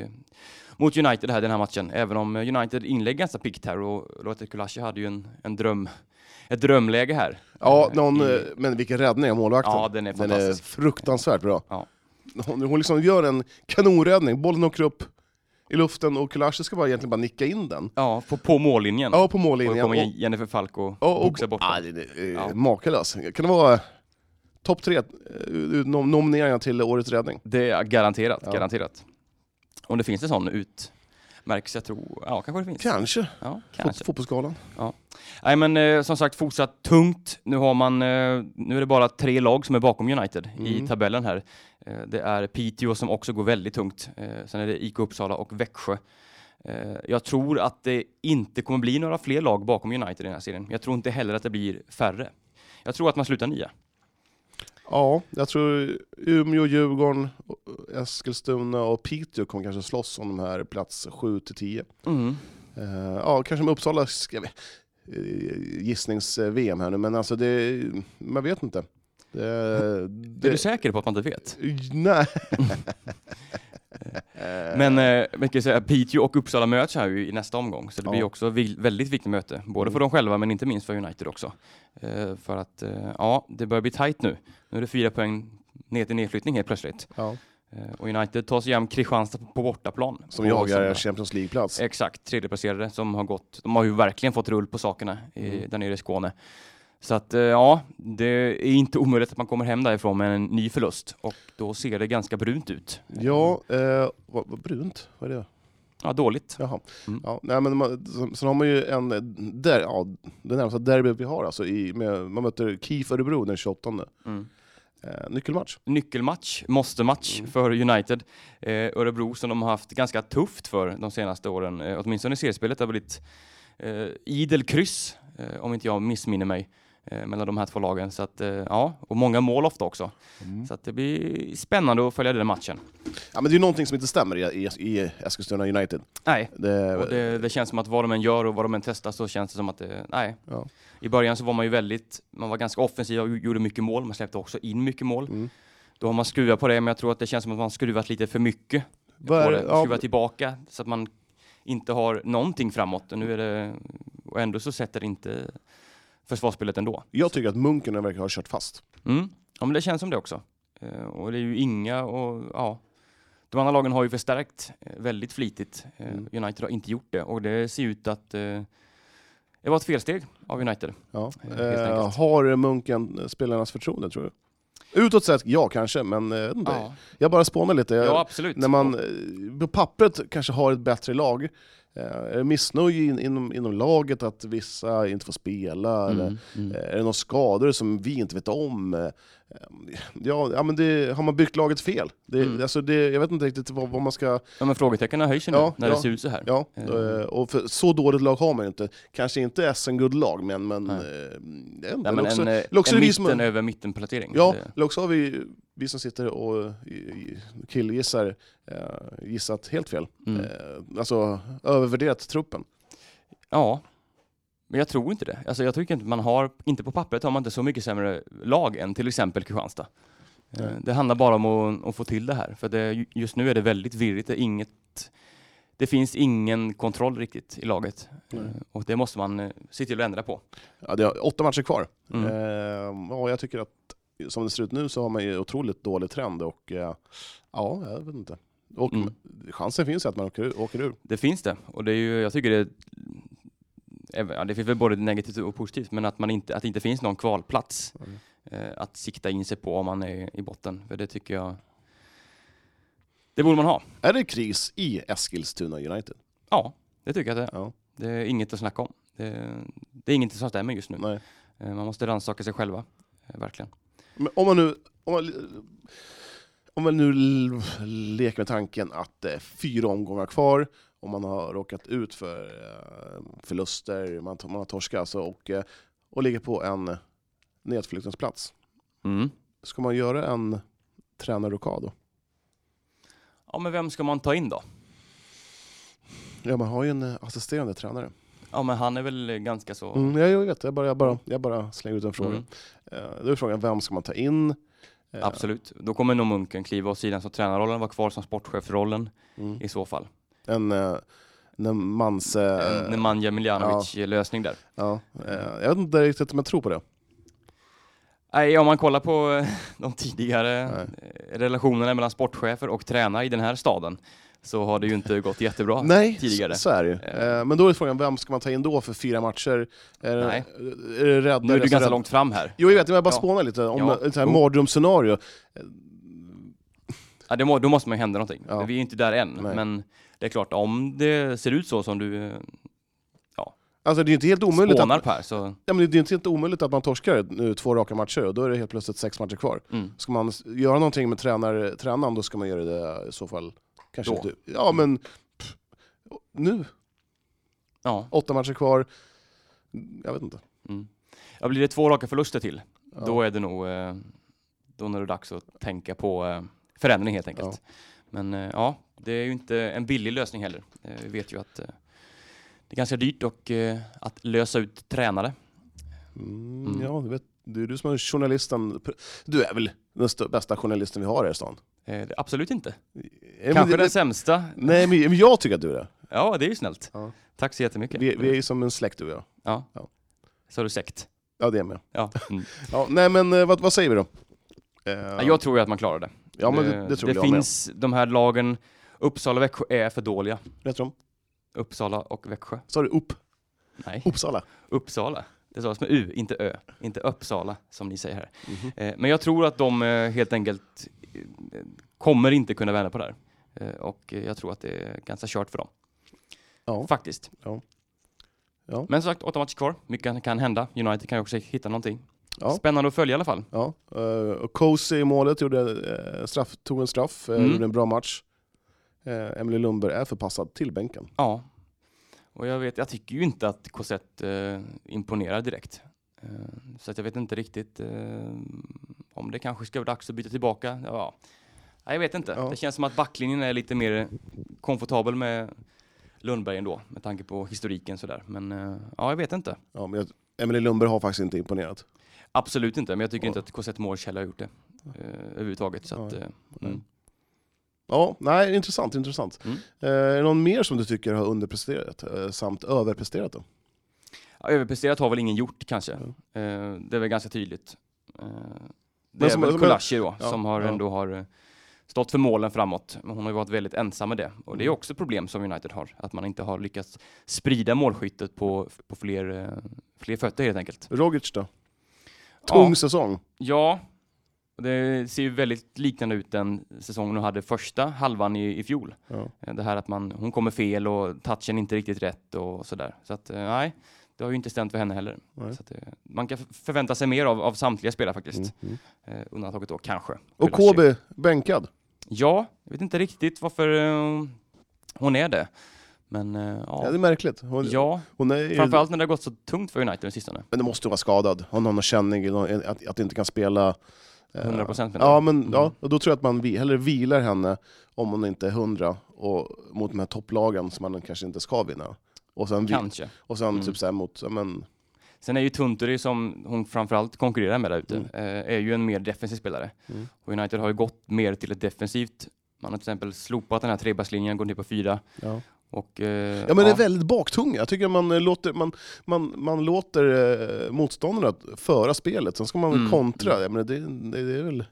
mot United här den här matchen. Även om eh, United inlägg ganska piggt här och Lothar Kulaschi hade ju en, en dröm, ett drömläge här. Ja, Eh, någon, i- eh, men vilken räddning av målvakten. Ja, den är fantastisk. fruktansvärt bra. Ja. Hon, hon liksom gör en kanonräddning, bollen åker upp i luften och Kulaschi ska bara egentligen bara nicka in den. Ja, på, på mållinjen. Ja, på Och mållinjen. kommer Jennifer Falk och Ja, och- boxar bort Ja, den. det är eh, Ja. makalös. Kan det vara eh, topp tre eh, nom- nomineringar till Årets Räddning? Det är garanterat, Ja. garanterat. Om det finns en sån ut... märks. Jag tror, ja kanske det finns. Kanske. Ja, Kanske. kanske. Fotbollsskalan. Nej men eh, som sagt fortsatt tungt. Nu har man, eh, nu är det bara tre lag som är bakom United i tabellen här. Eh, det är Piteå som också går väldigt tungt. Eh, sen är det IK Uppsala och Växjö. Eh, jag tror att det inte kommer bli några fler lag bakom United i den här serien. Jag tror inte heller att det blir färre. Jag tror att man slutar nia. Ja, jag tror Umeå, Djurgården, Eskilstuna och Piteå kommer kanske slåss om de här plats 7 till 10. Mm. Eh, ja, kanske med Uppsala ska vi- eh, gissnings-VM här nu, men alltså det, man vet inte. Det, Är det, du säker på att man inte vet? nej. Men eh, man kan ju säga, Piteå och Uppsala möts här ju i nästa omgång, så det Ja. Mm. blir också vil- väldigt viktigt möte. Både för dem själva, men inte minst för United också. Eh, för att, eh, ja, det börjar bli tajt nu. Nu är det fyra poäng ner till nedflyttning helt plötsligt. Ja. Eh, och United tar sig igenom Kristianstad på bortaplan. Som på jagar söndag. en Champions League-plats. Exakt, tredjeplacerade som har gått. De har ju verkligen fått rull på sakerna i, Mm. där nere i Skåne. Så att eh, ja, det är inte omöjligt att man kommer hem därifrån med en ny förlust och då ser det ganska brunt ut. Ja, eh, vad, vad brunt, vad är det? Ja, dåligt. Jaha. Mm. Ja, nej, men man, sen- sen har man ju en, eh, där, ja, det närmsta derbyt vi har alltså, i, med, man möter KIF Örebro den 28. Mm. Eh, nyckelmatch. nyckelmatch, måste-match Mm. för United. Eh, Örebro som de har haft ganska tufft för de senaste åren, eh, åtminstone i seriespelet. Det har blivit eh, idel kryss, eh, om inte jag missminner mig, eh, mellan de här två lagen. Så att, eh, ja, och många mål ofta också. Mm. Så att det blir spännande att följa den matchen. Ja, men det är ju någonting som inte stämmer i, i, i Eskilstuna United. Nej, Det, och det, det känns som att vad de än gör och vad de än testar så känns det som att det, nej. Ja. I början så var man ju väldigt, man var ganska offensiv och gjorde mycket mål, man släppte också in mycket mål. Mm. Då har man skruvat på det, men jag tror att det känns som att man har skruvat lite för mycket Vad är på det? det, Ja, skruva tillbaka så att man inte har någonting framåt. Och, nu är det, och ändå så sätter inte försvarsspelet ändå. jag tycker att Munken verkar ha kört fast. Mm. Ja, men det känns som det också. Eh, och det är ju inga och ja. De andra lagen har ju förstärkt eh, väldigt flitigt. Eh, Mm. United har inte gjort det och det ser ut att eh, det var ett felsteg av United. Ja. Helt Eh, enkelt. har Munken eh, spelarnas förtroende, tror du? Utåt sett, ja kanske, men eh, jag vet inte. Ja, jag bara spånar lite. Jag, ja absolut. Mm. när man eh, på pappret kanske har ett bättre lag, eh, är det missnöje in, inom, inom laget att vissa inte får spela? Eller, mm, mm. eh, Är det några skador som vi inte vet om? Eh, Ja, ja men det, har man byggt laget fel? Det, Mm. alltså det, jag vet inte riktigt vad, vad man ska... Ja, men frågetecknen höjs ju nu Ja, när ja. det ser ut så här. Ja, Eh. eh, och för, så dåligt lag har man ju inte. Kanske inte SM-guldlag, men... men Nej. eh, det Nej, är ändå men också, en eh, Luxor en är vi som- mitten över mitten placering. Ja, Det, eller också har vi, vi som sitter och eh, i- i- killgissar eh, gissat helt fel. mm. Eh, alltså övervärderat truppen. Ja, men jag tror inte det. Alltså jag tycker inte man har, inte på pappret har man inte så mycket sämre lag än till exempel Kristianstad. Eh, Nej. Det handlar bara om att, att få till det här, för det, ju- just nu är det väldigt virrigt. Det, är inget, det finns ingen kontroll riktigt i laget Nej. Eh, och det måste man eh, se till att ändra på. Ja, det är åtta matcher kvar. Mm. Eh, ja, jag tycker att som det ser ut nu så har man ju otroligt dålig trend och eh, ja, jag vet inte. Och Mm. chansen finns ju att man åker ur. Åker ur. Det finns det och det är ju, jag tycker det även- Ja, det finns väl både negativt och positivt, men att, man inte, att det inte finns någon kvalplats Mm. eh, att sikta in sig på om man är i botten. För det tycker jag... Det borde man ha. Är det kris i Eskilstuna United? Ja, det tycker jag att det är. Ja. Det är inget att snacka om. Det, det är inget som stämmer just nu. Nej. Eh, Man måste rannsaka sig själva, eh, verkligen. Men om man nu... Om man, om man nu l- leker med tanken att det är fyra omgångar kvar, om man har råkat ut för eh, förluster, man, man har torskat alltså, och, eh, och ligger på en nedflyttningsplats. Mm. Ska man göra en tränarrockad då? Ja, men vem ska man ta in då? Ja, man har ju en eh, assisterande tränare. Ja, men han är väl eh, ganska så... Mm, jag, jag vet, jag bara, jag, bara, jag bara slänger ut en fråga. Mm, Eh, då är frågan, vem ska man ta in? Eh, Absolut. Då kommer nog Munken kliva åt sidan som tränarrollen, vara kvar som sportchefsrollen Mm. i så fall. En, eh, en mans... eh, En Nemanja Miljanovic-lösning där. ja, eh, jag vet inte riktigt om jag tror på det. Nej, om man kollar på eh, de tidigare Nej. eh, relationerna mellan sportchefer och tränare i den här staden så har det ju inte gått jättebra. Nej, tidigare. Så, så är det ju. Eh. Eh, men då är frågan, vem ska man ta in då för fyra matcher? Är, det- Nej. är alltså det räddare? Nu är du som ganska rädd- långt fram här. Jo, jag vet, men jag bara Ja. spånar lite om Ja. ett så här Jo. mardrömsscenario. Ja, det må, då måste man ju hända någonting. Ja. Vi är ju inte där än, Nej. men det är klart, om det ser ut så som du eh, Alltså det är ju inte helt omöjligt att spånar Per, så... Ja, men det är inte helt omöjligt att man torskar nu två raka matcher och då är det helt plötsligt sex matcher kvar. Mm. Ska man s- göra någonting med tränare, tränaren då ska man göra det i så fall. Kanske Då. inte. Ja men pff, nu, Ja. mm. åtta matcher kvar. Jag vet inte. ja, blir det två raka förluster till, Ja. då är det nog eh, då är det dags att tänka på eh, förändring helt enkelt. Men eh, ja, det är ju inte en billig lösning heller. Eh, vi vet ju att eh, det är ganska dyrt och, eh, att lösa ut tränare. Mm, Mm. Ja, du vet, det är du som är journalisten. Du är väl den stö- bästa journalisten vi har här i stan? Eh, det- absolut inte. Ja, men Kanske det- den sämsta. Nej, men men jag tycker att du är det. Ja, det är ju snällt. Ja. Tack så jättemycket. Vi, vi är ju som en släkt du och jag. Så har du sekt. Ja, det är jag med. Ja. Mm. Ja, nej, men eh, vad, vad säger vi då? Eh, Ja. Jag tror ju att man klarar det. ja, men det, det tror det jag finns de här lagen, Uppsala och Växjö är för dåliga. med. Rätt om. Uppsala och Växjö. Sa du upp? Nej, Uppsala? Uppsala. Det sades med U, inte Ö. Inte Uppsala, som ni säger här. Mhm. Eh, Men jag tror att de eh, helt enkelt eh, kommer inte kunna vända på det här. Eh, Och eh, jag tror att det är ganska kört för dem. Ja. Faktiskt. Ja. Ja. Men som sagt, åtta matcher kvar. Mycket kan- kan hända. United kan ju också hitta någonting. Ja. Spännande att följa i alla fall. Ja, eh, och Cozy i målet gjorde, eh, straff, tog en straff, eh, Mm. gjorde en bra match. Eh, Emily Lundberg är förpassad till bänken. Ja. Och jag, vet, jag tycker ju inte att Cosette eh, imponerar direkt. Eh, så att jag vet inte riktigt eh, om det kanske ska vara dags att byta tillbaka. Ja. Nej, jag vet inte. Ja. Det känns som att backlinjen är lite mer komfortabel med Lundberg ändå, med tanke på historiken sådär. Men eh, ja, jag vet inte. Ja, men jag, Emily Lundberg har faktiskt inte imponerat. Absolut inte, men jag tycker Ja. inte att Cosette Morsch heller har gjort det eh, överhuvudtaget. Så att, eh, mm. Ja, nej, intressant, intressant. Mm. Eh, är det någon mer som du tycker har underpresterat eh, samt överpresterat då? ja, överpresterat har väl ingen gjort kanske. Mm. Eh, det är väl ganska tydligt. Eh, det som- är väl men- Kolashi då, ja, som har ja. ändå har eh, stått för målen framåt. Men hon har ju varit väldigt ensam med det. Och Mm. det är också ett problem som United har, att man inte har lyckats sprida målskyttet på, på fler, eh, fler fötter helt enkelt. Rogic då? Tung Ja, säsong. ja, det ser ju väldigt liknande ut den säsongen hon hade första halvan i, i fjol. Ja. Eh, Det här att man, hon kommer fel och touchen inte riktigt rätt och sådär. Så att eh, nej, det har ju inte stämt för henne heller. Nej. Så att, eh, man kan f- förvänta sig mer av, av samtliga spelare faktiskt. Mm. Eh, undantaget då kanske. Och Kulashi. KB bänkad. Ja, jag vet inte riktigt varför eh, hon är det. Men eh, Ja. det ja. är märkligt. Hon, ja, hon är, ju- framförallt när det har gått så tungt för United den sistone. Men det måste ju vara skadad. Hon har någon känning, i någon- att, att inte kan spela. eh, 100% menar Ja, jag. men Mm. ja, och då tror jag att man vi, hellre vilar henne om hon inte är 100 och, mot de här topplagen som man kanske inte ska vinna. Och sen, vi, Kanske. och sen Mm. typ så här mot, ja, men, Sen är ju Tunturi, som hon framförallt konkurrerar med där ute, Mm. eh, är ju en mer defensiv spelare. Mm. Och United har ju gått mer till ett defensivt. Man har till exempel slopat den här trebackslinjen, går ner på fyra. ja. Och, eh, men det är väldigt baktunga. Jag tycker man eh, låter, man, man, man låter eh, motståndarna föra spelet, sen ska man väl Mm. kontra. Ja, men det, det, det är väl,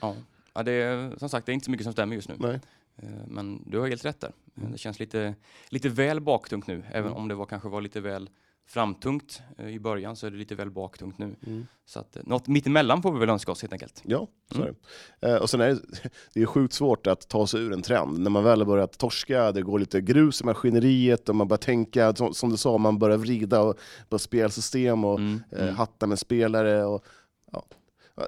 ja. Ja, det är, som sagt, det är inte så mycket som stämmer just nu. nej. Eh, Men du har helt rätt där. Eh, Det känns lite, lite väl baktungt nu, även Mm. om det var, kanske var lite väl framtungt eh, i början så är det lite väl baktungt nu. Mm. Så att, eh, något mittemellan får vi väl önska oss helt enkelt. Ja, så Mm. är det. Eh, Och sen är det, det är sjukt svårt att ta sig ur en trend. När man väl har börjat torska, det går lite grus i maskineriet och man börjar tänka, som, som du sa, man börjar vrida och, på spelsystem och Mm, eh, mm. hatta med spelare. Och, ja.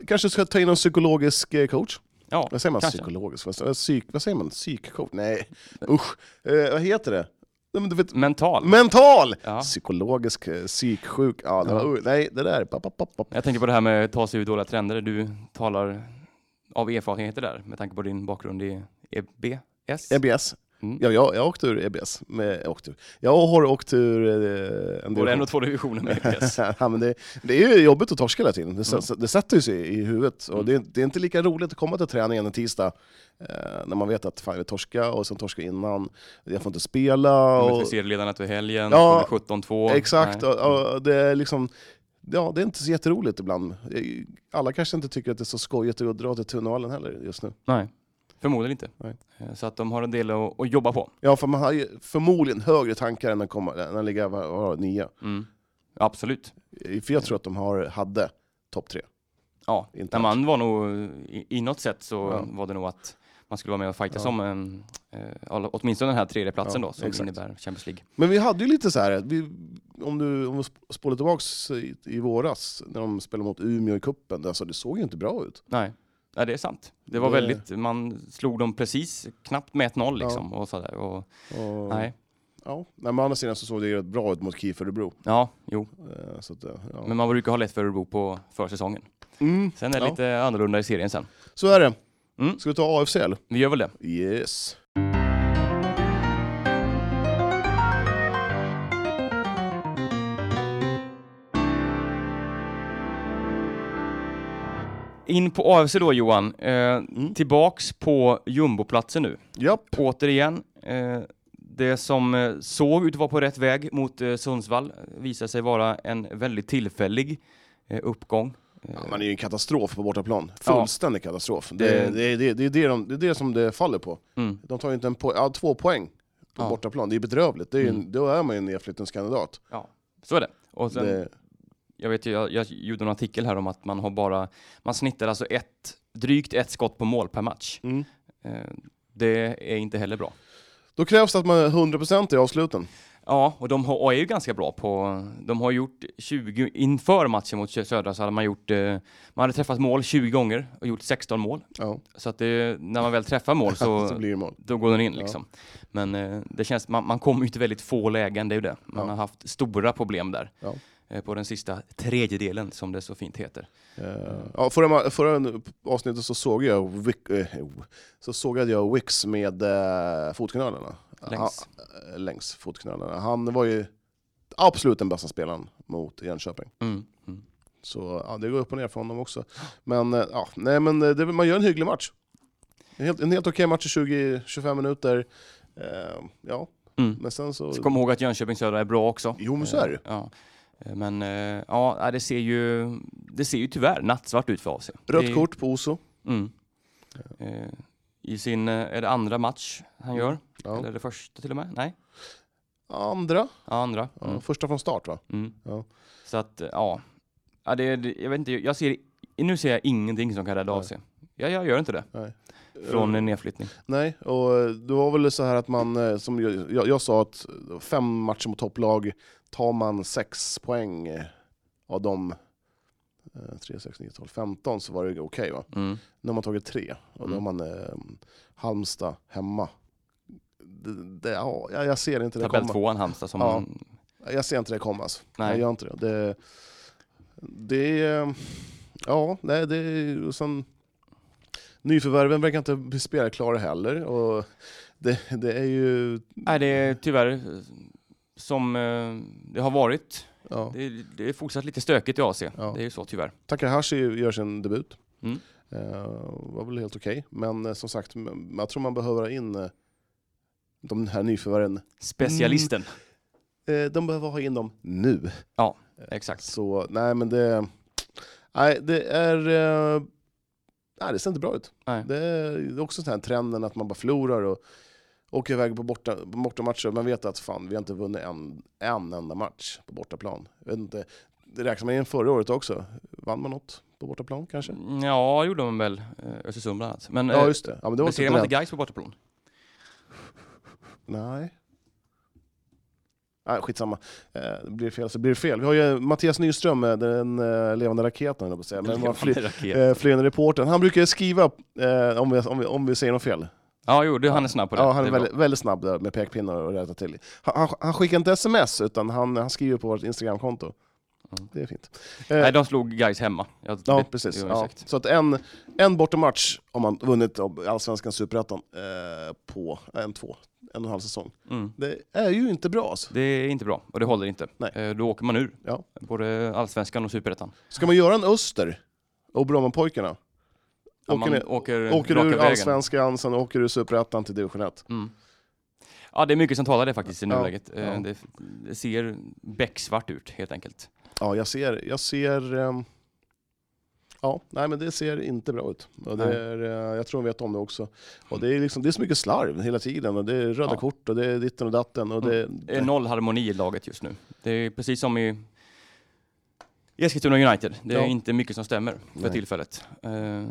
Kanske ska ta in en psykologisk eh, coach? Ja, Vad säger man? Kanske. Psykologisk? Vad, vad, psyk, vad säger man? Psykcoach? Nej, usch. Eh, vad heter det? Nej, men du vet, mental. mental! Ja. Psykologisk, eh, psyksjuk. Ja, det var, nej, det där. Pop, pop, pop, pop. Jag tänker på det här med att ta sig ur dåliga trender. Du talar av erfarenheter där med tanke på din bakgrund i E EBS. EBS. Mm. Ja, jag, jag åkte ur EBS. Med, jag, åkte ur. jag har åkt ur eh, Både en division. en och två divisioner med E EBS. ja, men det, det är ju jobbigt att torska hela tiden. Mm. Det, s- det sätter ju sig i huvudet. Och det, är- det är inte lika roligt att komma till träningen en tisdag eh, när man vet att fan, vi torska och sen torska innan. Jag får inte spela. Och... Och, Vi ser ledarna till helgen, Ja, ja, 17-2. exakt. Nej. Och, och det är liksom... Ja, det är inte så jätteroligt ibland. Alla kanske inte tycker att det är så skojigt att dra till Tunavallen heller just nu. Nej, förmodligen inte. Nej. Eh, Så att de har en del att, att jobba på. Ja, för man har ju förmodligen högre tankar än att, komma, än att ligga vad- vad var det, nia. Mm. Absolut. För jag tror att de har, hade topp tre. Ja, Inte när alls. man var nog, i, i något sätt så Ja. var det nog att man skulle vara med och fighta som en, eh, åtminstone den här tredje platsen Ja, då, som exakt. innebär Champions League. Men vi hade ju lite så här, att vi, om du om vi sp- spolar tillbaks i, i våras, när de spelade mot Umeå i cupen, alltså, det såg ju inte bra ut. Nej, Nej det är sant. Det var Det- väldigt, man slog dem precis, knappt med 1-0 liksom. Och sådär. Och, Och, Nej, Ja, men å andra sidan så såg det ju rätt bra ut mot KIF Örebro. ja, jo. Eh, Så att, eh, ja. Men man brukar ha lätt för Örebro på försäsongen. Mm, Sen är det Ja. lite annorlunda i serien sen. så är det. Mm. Ska vi ta AFC eller? Vi gör väl det. Yes. In på AFC då Johan. Eh, Tillbaks på jumboplatsen nu. Japp. Återigen, eh, det som eh, såg ut att vara på rätt väg mot eh, Sundsvall eh, visade sig vara en väldigt tillfällig eh, uppgång. Ja, man är ju en katastrof på bortaplan. Fullständig katastrof. Det, Det- det, det, det, är det, de, det är det som det faller på. Mm. De tar ju inte en po- ja, två poäng på Ja. bortaplan. Det är bedrövligt. Det är ju en, Då är man ju en nedflyttningskandidat. Så är det. Och sen, Det, Jag, vet ju, jag, jag gjorde en artikel här om att man har bara, man snittar alltså ett, drygt ett skott på mål per match. Mm. Eh, det är inte heller bra. då krävs det att man är 100% i avsluten. Ja, och de har, är ju ganska bra på... De har gjort 20... Inför matchen mot Södra så hade man gjort... Eh, man hade träffat mål 20 gånger och gjort 16 mål. Ja. Så att det, när man väl träffar mål så, så blir det mål. då går den in liksom. Men eh, det känns... Man, man kommer ju till väldigt få lägen, det är ju det. Man Ja. har haft stora problem där. Ja. Eh, på den sista tredjedelen, som det så fint heter. Eh, Ja, förra, ma- förra avsnittet så såg jag Wick, eh, oh, så sågade jag Wicks med eh, fotknölarna. Längs. Ha, eh, längs fotknölarna. Han var ju absolut den bästa spelaren mot Jönköping. Mm. Mm. Så ja, det går upp och ner för honom också. Men, eh, ja, nej, men eh, det, man gör en hygglig match. En helt, en helt okej match i 20-25 minuter. Eh, ja, Mm. men sen så... Så kom ihåg att Jönköping Södra är bra också. Jo men så är det. Ja. Eh, Men eh, ja, nej, det ser ju, det ser ju tyvärr nattsvart ut för AFC. Det är- Rött kort på Oso. Mm. Eh, I sin, eh, är det andra match han gör? Mm. Ja. Eller är det första till och med? Nej, Andra. ja, andra. Ja, Mm. Första från start va? Mm. Ja. Så att, eh, ja. ja det, det, jag vet inte, jag ser, nu ser jag ingenting som kan rädda AFC. Ja, jag gör inte det. Från en nedflyttning. Nej, och eh, det var väl så här att man, eh, som jag, jag, jag sa, att eh, fem matcher mot topplag, tar man sex poäng eh, av de eh, tre, sex, nio, 12, 15 så var det okej va? Mm. Nu har man tagit tre, och då har man eh, Halmstad hemma. Det, det, ja, jag jag ser inte det Tabell komma. tvåan Halmstad som... Ja. Man, Jag ser inte det komma alltså. Nej. Jag gör inte det. Det, det eh, ja, nej det och sen, Nyförvärven verkar inte bli spelklara heller. Och det, det är ju... nej, det är tyvärr eh, som eh, det har varit. Ja. Det, är- det är fortsatt lite stökigt i AC. Ja. Det är ju så tyvärr. Takahashi gör sin debut. Mm. Eh, var väl helt okej. Men eh, som sagt, m- jag tror man behöver in eh, de här nyförvärven. Specialisten. Eh, de behöver ha in dem nu. Eh, Exakt. Så nej men det... Nej, det är... eh, Nej, det ser inte bra ut. Nej. Det är det är också den här trenden att man bara förlorar och åker iväg på borta- på bortamatcher. Man vet att fan, vi har inte vunnit en, en enda match på bortaplan. Jag vet inte, det räknar man in förra året också. Vann man något på bortaplan kanske? Ja, det gjorde man väl. eh, Östersund bland annat. Men Ja, Mm, eh, just det. Ja, men det var Besegrade inte man inte Gais på bortaplan? Nej. Nej, skitsamma. Eh, blir det fel så blir det fel. Vi har ju Mattias Nyström, eh, den eh, levande raketen, höll jag på att säga. Men vad fly, Raket. eh, flygande reportern. Han brukar skriva eh, om, vi, om, vi, om vi säger något fel. Ja, jo, det, han är snabb på det. Ja, han det är bra. väldigt, väldigt snabb där med pekpinnar och rätta till. Han, han, han skickar inte sms, utan han, han skriver på vårt Instagramkonto. Mm. Det är fint. Eh, Nej, de slog Gais hemma. Jag, Ja, det- precis. det var Ja. exakt. Så att en, en bortamatch har man vunnit av Allsvenskan Superettan eh, på en, två, en och en halv säsong. Mm. Det är ju inte bra alltså. Det är inte bra och det håller inte. Nej. Eh, Då åker man ur. Ja. Både allsvenskan och superettan. Ska man göra en öster och Brommapojkarna? Ja, Åker, man ner- åker, åker raka ur vägen. Allsvenskan, sen åker du Superettan till Division 1. Mm. Ja, det är mycket som talar det faktiskt i Ja, nuläget. Eh, ja. Det, det ser becksvart ut helt enkelt. Ja, jag ser... Jag ser ehm, Ja, nej men det ser inte bra ut. Och det Nej. är, eh, jag tror de vet om det också. Och det, är liksom, det är så mycket slarv hela tiden, och det är röda Ja. kort och det är ditten och datten. Och det, Det är noll harmoni i laget just nu. Det är precis som i Eskilstuna United. Det är Ja. inte mycket som stämmer för Nej. tillfället. Eh,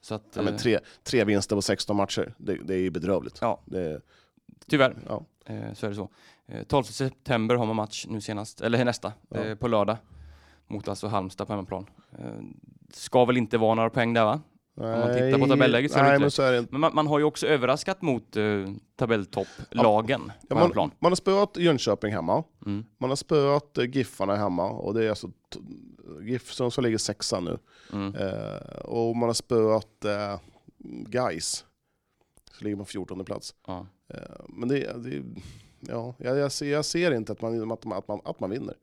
Så att, Ja, men eh, tre, tre vinster på 16 matcher, det, det är ju bedrövligt. Ja. Det, Tyvärr. Ja. Eh, så är det så. Eh, 12 september har man match nu senast, eller nästa, Ja. eh, på lördag. Mot alltså Halmstad på hemmaplan. Eh, ska väl inte vara några poäng där va? man tittar på tabelläget så är det nej, inte men det. så är det inte. Men man, man har ju också överraskat mot eh, tabelltopplagen på Ja, hemmaplan. man, man har spöat Jönköping hemma, Mm. man har spöat eh, Giffarna hemma, och det är alltså t- GIF som, som ligger sexa nu. Mm. Eh, och man har spöat eh, Gais, som ligger på 14 plats. Ja. Eh, men det, det ja, jag, jag, ser, jag ser inte att man, att, man, att, man, att man vinner.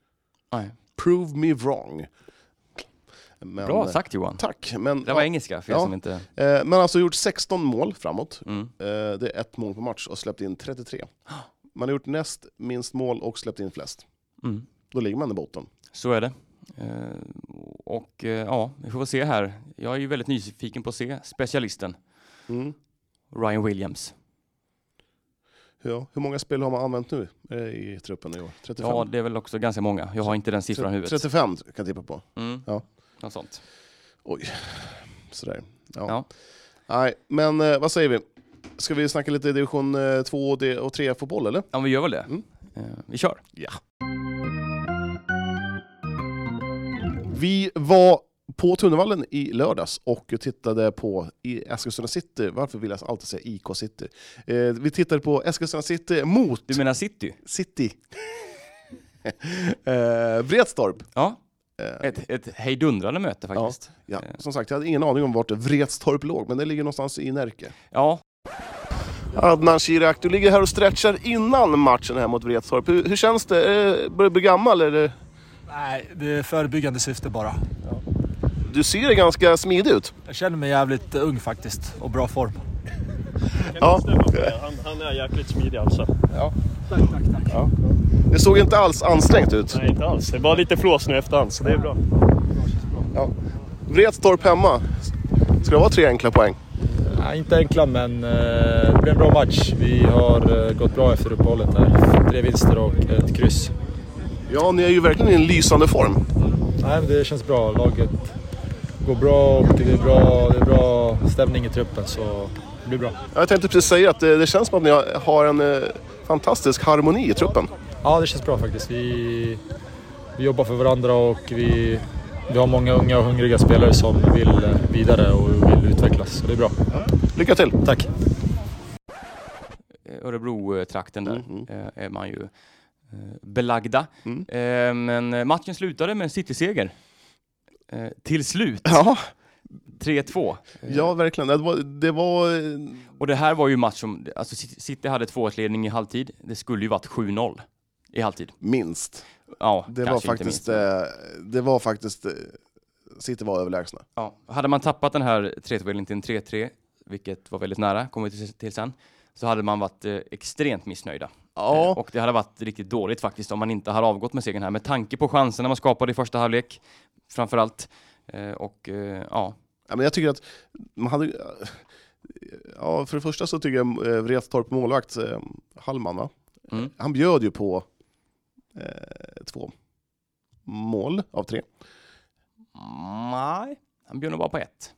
Nej. Prove me wrong. Men, Bra eh, sagt Johan. Tack. Men, Det var ja, engelska för er Ja. som inte... eh, men alltså gjort 16 mål framåt. Mm. Eh, Det är ett mål per match och släppt in 33. Man har gjort näst minst mål och släppt in flest. Mm. Då ligger man i botten. Så är det. Eh, och eh, ja, vi får se här. Jag är ju väldigt nyfiken på att se specialisten Mm. Ryan Williams. Ja. Hur många spel har man använt nu eh, i truppen i år? 35? Ja, det är väl också ganska många. Jag har inte den siffran i huvudet. 35 kan jag tippa på. Mm. Ja. Något sånt. Sådär. Ja. Ja. Nej, men eh, vad säger vi? Ska vi snacka lite division 2 och 3 fotboll eller? Ja, men vi gör väl det. Mm. Eh, vi kör. Vi var på Tunnevallen i lördags och tittade på i Eskilstuna City. Varför vill jag alltid säga IK City? Eh, vi tittade på Eskilstuna City mot Du menar City? City. eh, Vretstorp. Ja. Eh, Ett, ett hejdundrande möte faktiskt. ja, som sagt, jag hade ingen aning om vart Vretstorp låg, men det ligger någonstans i Närke. Ja. Adnan Shirak, du ligger här och stretchar innan matchen här mot Vretstorp. Hur, hur känns det? Är det- Börjar du bli gammal? Eller? Nej, det är förebyggande syfte bara. Du ser ganska smidig ut. Jag känner mig jävligt eh, ung faktiskt och bra form. Ja. Han, han är jäkligt smidig alltså. Det såg inte alls ansträngt ut. Nej, inte alls. Det är bara lite flås nu efterhand, så det är bra. Vretstorp hemma. Ska det vara tre enkla poäng? Nej, inte enkla, men eh, det blev en bra match. Vi har eh, gått bra efter uppehållet här. Tre vinster och ett kryss. Ja, ni är ju verkligen i en lysande form. Nej, men det känns bra. Laget går bra och det är bra, det är bra stämning i truppen, så det blir bra. Jag tänkte precis säga att det, det känns som att ni har en eh, fantastisk harmoni i truppen. Ja, det känns bra faktiskt. Vi, vi jobbar för varandra och vi, vi har många unga och hungriga spelare som vill eh, vidare och vill utvecklas, så det är bra. Lycka till! Tack! Örebro-trakten där Mhm. eh, är man ju eh, belagda. Mm. Eh, men eh, matchen slutade med en City-seger. Eh, till slut. Ja, 3-2. ja verkligen. Det var, det var eh, Och det här var ju match som, alltså City City hade 2-1-ledning i halvtid. Det skulle ju varit 7-0 i halvtid. minst. Ja, Det var, kanske inte faktiskt, minst. eh, det var faktiskt... eh, City var överlägsna. Ja. Hade man tappat den här 3-2-ledningen till en 3-3, vilket var väldigt nära, kommer vi till- till sen, så hade man varit eh, extremt missnöjda. Eh, Ja, Och det hade varit riktigt dåligt faktiskt om man inte hade avgått med segern här med tanke på chanserna man skapade i första halvlek framförallt. Eh, och eh, ja, ja, men jag tycker att man hade... Ja, för det första så tycker jag eh, Vretstorp målvakt, eh, Hallman va? mm, Han bjöd ju på eh, två mål av tre. nej, han bjöd nog bara på ett.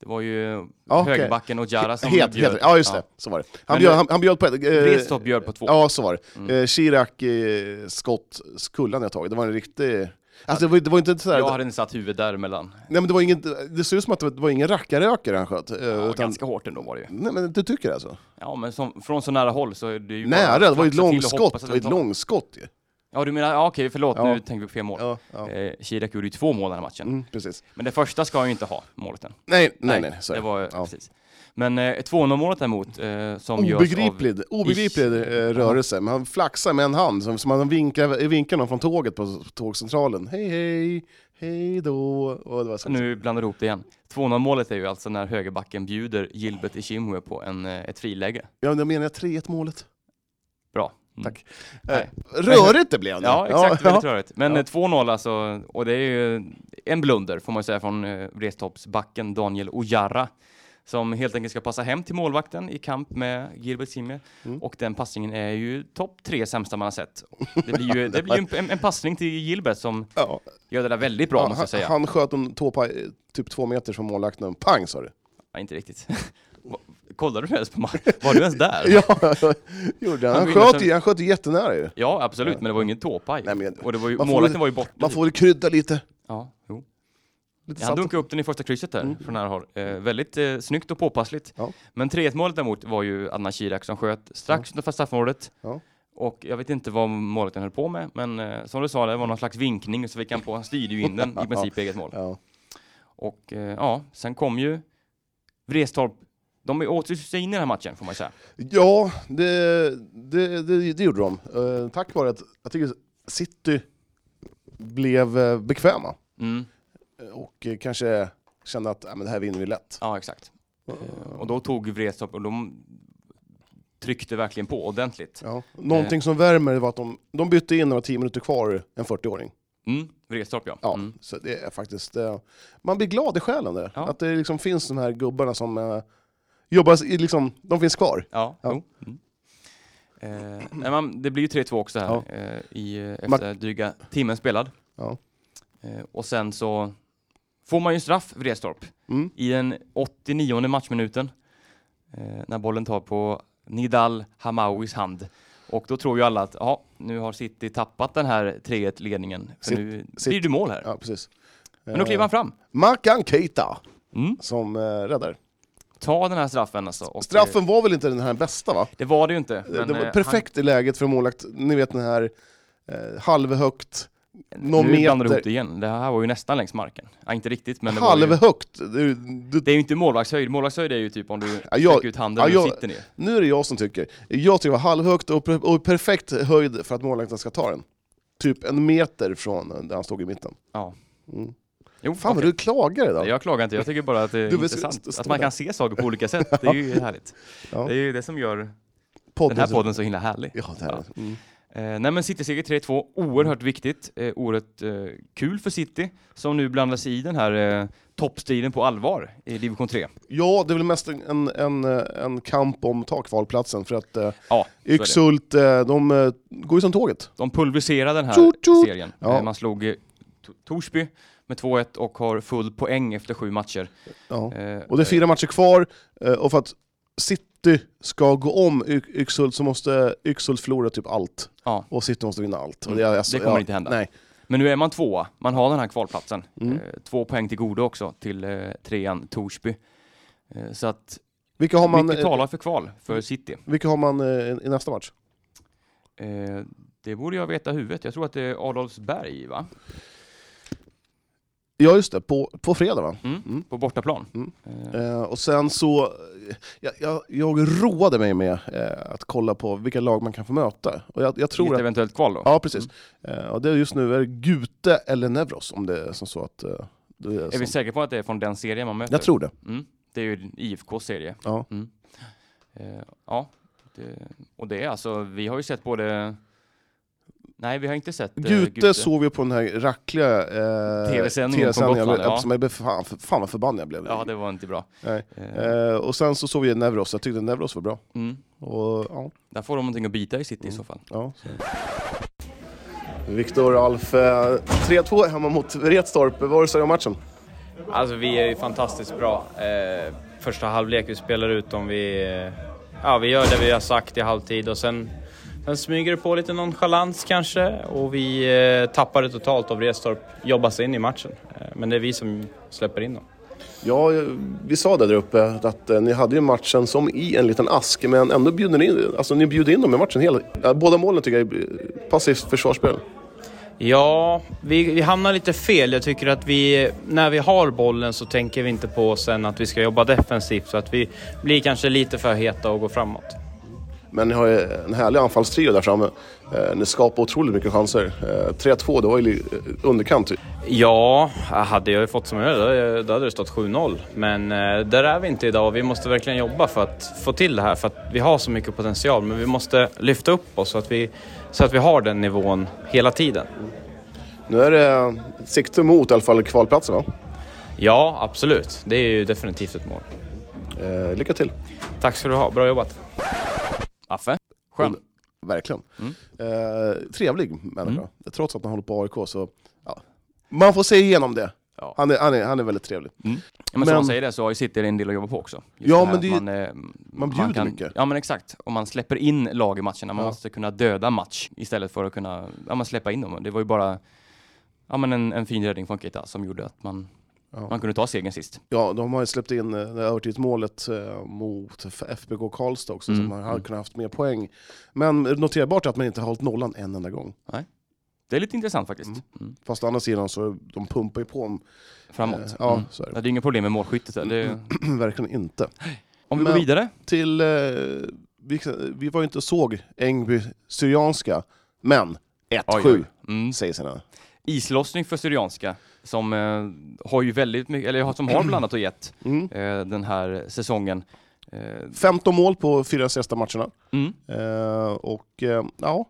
Det var ju Ja, okej. högerbacken och Jara som Het, bjöd. heter, ja, just det. Så var det. Han, Men bjöd, det- han, han bjöd på ett... eh, Vretstorp bjöd på två. Ja, så var det. Mm. Eh, Chirac eh, skott, skullan jag tagit. Det var en riktig... Alltså det var, det var inte sådär... Jag hade inte satt huvudet däremellan. Nej, men det, var inget, det ser ut som att det var ingen rackarökare han sköt. eh, Ja, utan, Ganska hårt ändå var det ju. Nej, men du tycker alltså? Ja, men som, från så nära håll så är det ju bara Nära, det var ju ett att flaxa till och långskott. hoppas Det att var ju ett tar- långskott ju. Ja, du menar, ja, okej, förlåt, Ja. nu tänkte vi på fel mål. Ja, ja. Eh, Kirak gjorde ju två mål den här matchen. Mm, precis. Men det första ska han ju inte ha, målet än. Nej, nej, nej. så är det det. var Ja. precis. Men eh, 2-0-målet däremot, eh, som görs Obegriplig, obegriplig eh, rörelse, men han flaxar med en hand som, som han vinkar, vinkar någon från tåget på tågcentralen. Hej hej, hej då. Och det var så. av... Nu blandar du ihop det igen. 2-0-målet är ju alltså när högerbacken bjuder Gilbert Ishimwe på en, eh, ett friläge. Ja, då menar jag 3-1 målet. Bra. Mm. Tack. Nej. Eh, rörigt det blev nu. Ja, exakt. Ja, väldigt rörigt. Men eh, 2-0 alltså, och det är ju en blunder får man ju säga från eh, Vretstorpsbacken Daniel Ojara som helt enkelt ska passa hem till målvakten i kamp med Gilbert Simmer. Mm. Och den passningen är ju topp tre sämsta man har sett. Det blir ju, det blir ju en, en passning till Gilbert som ja. gör det där väldigt bra, måste jag han, säga. han sköt en tåpaj eh, typ två meter från målvakten. Pang sa du. Ja, inte riktigt. Va- Kollade du ens på matchen? Var du ens där? Ja, gjorde Han han. Han ville sköt, sen- ju, han sköt ju jättenära ju. Ja, absolut, men det var ju ingen tåpaj. Nej, men- Och det var ju, man får målvakten väl- var ju borta. Man får väl krydda lite. Ja, jo. lite Ja, Han salt. dunkade upp den i första krysset där, från nära håll. Eh, väldigt eh, snyggt och påpassligt. Mm. Ja. Men 3-1 målet däremot var ju Adnan Kirak som sköt strax utanför straffområdet. Ja. Och jag vet inte vad målvakten höll på med, men eh, som du sa, det var någon slags vinkning så vi kan på. Han styrde ju in den i princip i eget mål. Ja. Och eh, ja, sen kom ju Vrestorp. De återtog sig in i den här matchen får man säga. Ja, det, det, det, det gjorde de. Eh, tack vare att jag tycker City blev eh, bekväma Mm. Eh, och eh, kanske kände att "Ja, men det här vinner vi lätt. Ja, exakt. Eh, Och då tog Vrestorp och de tryckte verkligen på ordentligt. Ja. Någonting som värmer var att de, de bytte in när det var 10 minuter kvar en 40-åring. Mm. Vrestorp ja. Ja, Mm. så det är faktiskt... eh, man blir glad i själen där. Ja. Att det liksom finns de här gubbarna som eh, jobbar, i- liksom, de finns kvar. Ja, Ja. jo. Mm. Eh, nej, man, det blir ju 3-2 också här Ja. eh, i, eh, efter Man- dryga timmen spelad. Ja. Eh, och sen så får man ju straff, Vrestorp, Mm. i den 89 matchminuten eh, när bollen tar på Nidal Hamawis hand. Och då tror ju alla att ja, nu har City tappat den här 3-1-ledningen, för Sit- nu City- blir det mål här. Ja, precis. Men då kliver han fram. Makan Keita Mm. som eh, räddar. Ta den här straffen alltså. Och, eh, Straffen var väl inte den här bästa va? Det var det ju inte. men, det var eh, perfekt i läget för en målvakt, ni vet den här eh, halvhögt, någon nu blandar du ihop meter. det igen. Det här var ju nästan längs marken. Ja, inte riktigt, men det var ju... Halvhögt! Du, du, Det är ju inte målvaktshöjd. Målvaktshöjd är ju typ om du Ja, jag- sträcker ut handen ja, och jag- sitter ner. nu är det jag som tycker. Jag tycker det var halvhögt och, per- och perfekt höjd för att målvakten ska ta den. Typ en meter från där han stod i mitten. Ja. Mm. Jo, Fan okej. vad du klagar idag! Jag klagar inte, jag tycker bara att det är Du vill intressant. st- stå att man där. kan se saker på olika sätt, det är ju härligt. Ja. Det är ju det som gör Podden den här så- podden så himla härlig. Ja, det här. Ja. Mm. Eh, nej men City-seger 3-2, oerhört viktigt, eh, oerhört eh, kul för City som nu blandar sig i den här eh, toppstriden på allvar i division 3. ja, det är väl mest en, en, en, eh, en kamp om ta kvalplatsen för att eh, Ja, så är det. Yxhult, eh, de eh, går ju som tåget. De pulveriserade den här Tjut, tjut. serien. Ja. Eh, Man slog eh, T- Torsby med 2-1 och har full poäng efter sju matcher. Ja. Eh, Och det är eh, fyra matcher kvar, eh, och för att City ska gå om Y- Yxhult så måste Yxhult förlora typ allt. Ja. Och City måste vinna allt. Och Mm, är det kommer inte hända. Nej. Men nu är man tvåa. Man har den här kvalplatsen. Mm. Eh, två poäng till godo också till eh, trean Torsby. Eh, så att Vilka har man, mycket eh, talar för kval för City. vilka har man eh, i nästa match? Eh, det borde jag veta i huvudet. Jag tror att det är Adolfsberg va? Ja just det, på, på fredag va? Mm. Mm. På bortaplan. Mm. Eh, Eh, och sen så, eh, jag, jag, jag roade mig med eh, att kolla på vilka lag man kan få möta. Och jag, jag i tror ett att, eventuellt kval då. ja precis. Mm. Eh, och det är just nu är det Gute eller Nevros om det är som så att... Eh, det är Är vi som, säkra på att det är från den serien man möter? jag tror det. Mm. Det är ju IFKs serie. Ja. Mm. Eh, ja. Det, och det är alltså, vi har ju sett både... Nej, vi har inte sett eh, Gute, såg vi på den här rackliga eh, TV-sändningen från TV-sändningen. Gotland, ja. Eftersom jag blev fan, fan vad förbannad jag blev. Ja, det var inte bra. Nej. Eh, eh, och sen så såg vi Nevros, jag tyckte Nevros var bra. mm. Och, ja, Där får de någonting att bita i City Mm. i så fall. ja, så. Viktor och Alf, eh, 3-2 hemma mot Vretstorp. Vad var det du om matchen? Alltså vi är ju fantastiskt bra. Eh, första halvlek, vi spelar ut dem. Vi, eh, ja, vi gör det vi har sagt i halvtid och sen, sen smyger det på lite nonchalans kanske och vi eh, tappar det totalt och Vrestorp jobbar sig in i matchen. Eh, men det är vi som släpper in dem. Ja, eh, vi sa där uppe att eh, ni hade ju matchen som i en liten ask, men ändå bjuder ni in, alltså, ni bjuder in dem i matchen. Hela, eh, båda målen tycker jag är eh, passivt försvarsspel. Ja, vi, vi hamnar lite fel. Jag tycker att vi, när vi har bollen så tänker vi inte på sen att vi ska jobba defensivt så att vi blir kanske lite för heta och går framåt. Men ni har ju en härlig anfallstrio där framme. Eh, ni skapar otroligt mycket chanser. Eh, 3-2, det var ju li- eh, underkant. Ja, hade jag ju fått som jag ville, då hade- då hade det stått 7-0. Men eh, där är vi inte idag och vi måste verkligen jobba för att få till det här. För att vi har så mycket potential men vi måste lyfta upp oss så att vi, så att vi har den nivån hela tiden. Nu är det eh, sikte mot i alla fall kvalplatsen va? Ja, absolut. Det är ju definitivt ett mål. Eh, lycka till! Tack ska du ha, bra jobbat. Affe? Skön. Verkligen. Mm. Eh, trevlig människa. Mm. Trots att han håller på AIK så... Ja. Man får se igenom det. Ja. Han, är, han, är, han är väldigt trevlig. Ja, men, som Men- han säger det så har ju City en del att jobba på också. Just Ja, det här men det är ju- att man, eh, bjuder kan, mycket. Ja men exakt. Och man släpper in lag i matcherna. Man måste kunna döda match istället för att kunna ja, man släppa in dem. Det var ju bara ja, men en, en fin räddning från Keita som gjorde att man, Ja. man kunde ta segern sist. Ja, de har ju släppt in eh, det här övertidsmålet eh, mot F- FBK Karlstad också, Mm. som har- hade kunnat haft mer poäng. Men noterbart är att man inte har hållit nollan en enda gång. Det är lite intressant faktiskt. Mm. Mm. Fast å andra sidan så de pumpar ju på om... Framåt. eh, Ja, Mm. så är Ja, det är inget problem med målskyttet. där. Det, det. Verkligen inte. om vi Men- går vidare. Till... Eh, vi, eh, vi var ju inte och såg Engby Syrianska, men 1-7 Mm. säger sig nu. Islossning för Syrianska som eh, har ju väldigt mycket, eller har- som har blandat och gett Mm. eh, den här säsongen. Eh, 15 mål på fyra sista matcherna. mm. Eh, och eh, ja,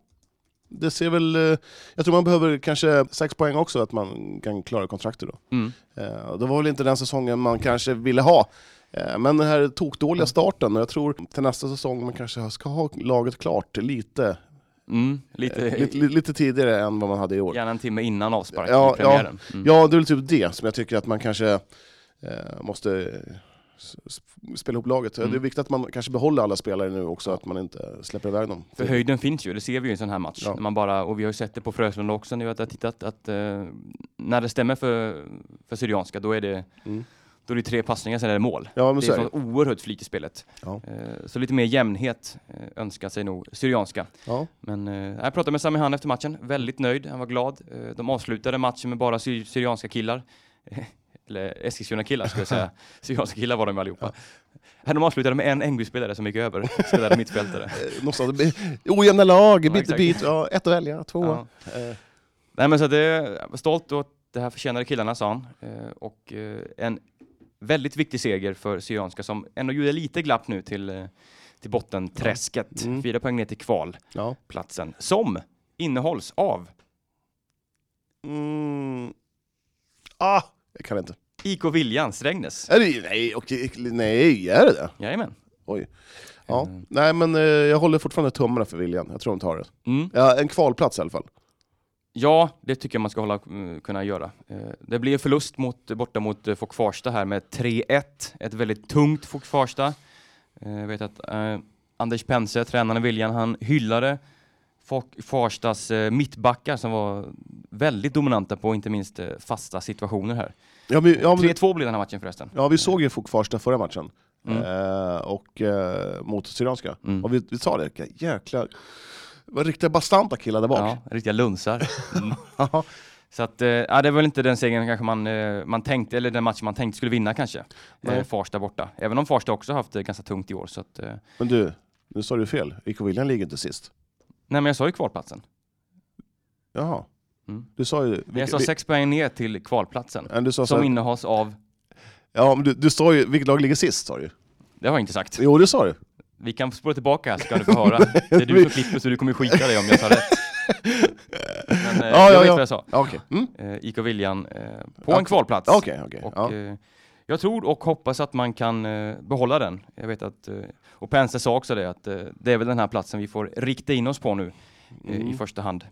det ser väl... Eh, jag tror man behöver kanske sex poäng också, att man kan klara kontraktet då. Mm. Eh, det var väl inte den säsongen man kanske ville ha. Eh, men den här Mm. tokdåliga starten, och jag tror till nästa säsong man kanske ska ha laget klart lite, Mm. Lite, eh, lite, lite tidigare än vad man hade i år. Gärna en timme innan avspark Ja, i premiären. Mm. Ja, det är väl typ det som jag tycker att man kanske eh, måste eh, s- s- spela ihop laget. Mm. Det är viktigt att man kanske behåller alla spelare nu också, att man inte släpper iväg dem. För höjden finns ju, det ser vi ju i en sån här match. Ja. När man bara, och vi har ju sett det på Fröslunda också nu, att jag har tittat att eh, när det stämmer för, för Syrianska, då är det Mm. Då är det tre passningar, sen är det mål. Ja, men det så är är det. sånt oerhört flyt i spelet. Ja. Eh, Så lite mer jämnhet eh, önskar sig nog Syrianska. Ja. Men eh, jag pratade med Sami Han efter matchen, väldigt nöjd, han var glad. Eh, de avslutade matchen med bara sy- Syrianska killar. Eh, Eller Eskilstuna-killar ska jag säga. Syrianska killar var de allihopa. Ja. De avslutade med en Engby-spelare som gick över, spelade mittfältare. Eh, Någonstans, det blir ojämna lag, bit till exakt. bit. Ja, ett att välja, två. Ja. Eh, Nej men så att det, jag var stolt och att det här förtjänade killarna sa han. Eh, och eh, en väldigt viktig seger för Syrianska som ändå gjorde lite glapp nu till, eh, till bottenträsket. Mm. Fyra poäng ner till Ja. kvalplatsen som innehålls av Mm. Ah, jag kan inte. IK Viljan Strängnäs. Är det, nej, okej, nej, är det det? Jajamän. Ja. Mm. Nej, men eh, jag håller fortfarande tummarna för William. Jag tror de tar det. Mm. Ja, en kvalplats i alla fall. Ja, det tycker jag man ska hålla, mm, kunna göra. Eh, det blir förlust mot, borta mot eh, Fock Farsta här med 3-1. Ett väldigt tungt Fock Farsta. Eh, jag vet att eh, Anders Pense, tränaren i Viljan, han hyllade Fock Farstas eh, mittbackar som var väldigt dominanta på inte minst eh, fasta situationer här. Ja, men, ja, men, 3-2 blev den här matchen förresten. ja vi såg ju Fok Farsta förra matchen. Mm. Eh, och eh, mot Syrianska. Mm. Och vi, vi sa det, vilka jäkla... Vad riktiga bastanta killar där bak. Ja, riktiga lunsar. Mm. Så att, eh, ja, det var väl inte den segern kanske man, eh, man tänkte, eller den matchen man tänkte skulle vinna kanske. Eh, Nej. Farsta borta. Även om Farsta också haft det ganska tungt i år. Så att, eh, nej Men du, nu sa du fel. IK William ligger inte sist. men jag sa ju kvalplatsen. Jaha. Mm. Du sa ju... Men jag sa sex poäng ner till kvalplatsen. Ja, du sa så Som här- innehas av, Ja, men du, du sa ju, vilket lag ligger sist sa du det har jag inte sagt. Jo, det sa du. Vi kan spola tillbaka här så kan du få höra. Det är du som klipper så du kommer skita dig om jag tar rätt. Men eh, Ja, jag ja, vet ja. vad jag sa. Ja, Okej, mm. Eh, IK Viljan eh, på Ja, en kvalplats. okej. okej. Och, ja. eh, jag tror och hoppas att man kan eh, behålla den. Jag vet att, eh, och Pense sa också det, att eh, det är väl den här platsen vi får rikta in oss på nu eh, i Mm. första hand.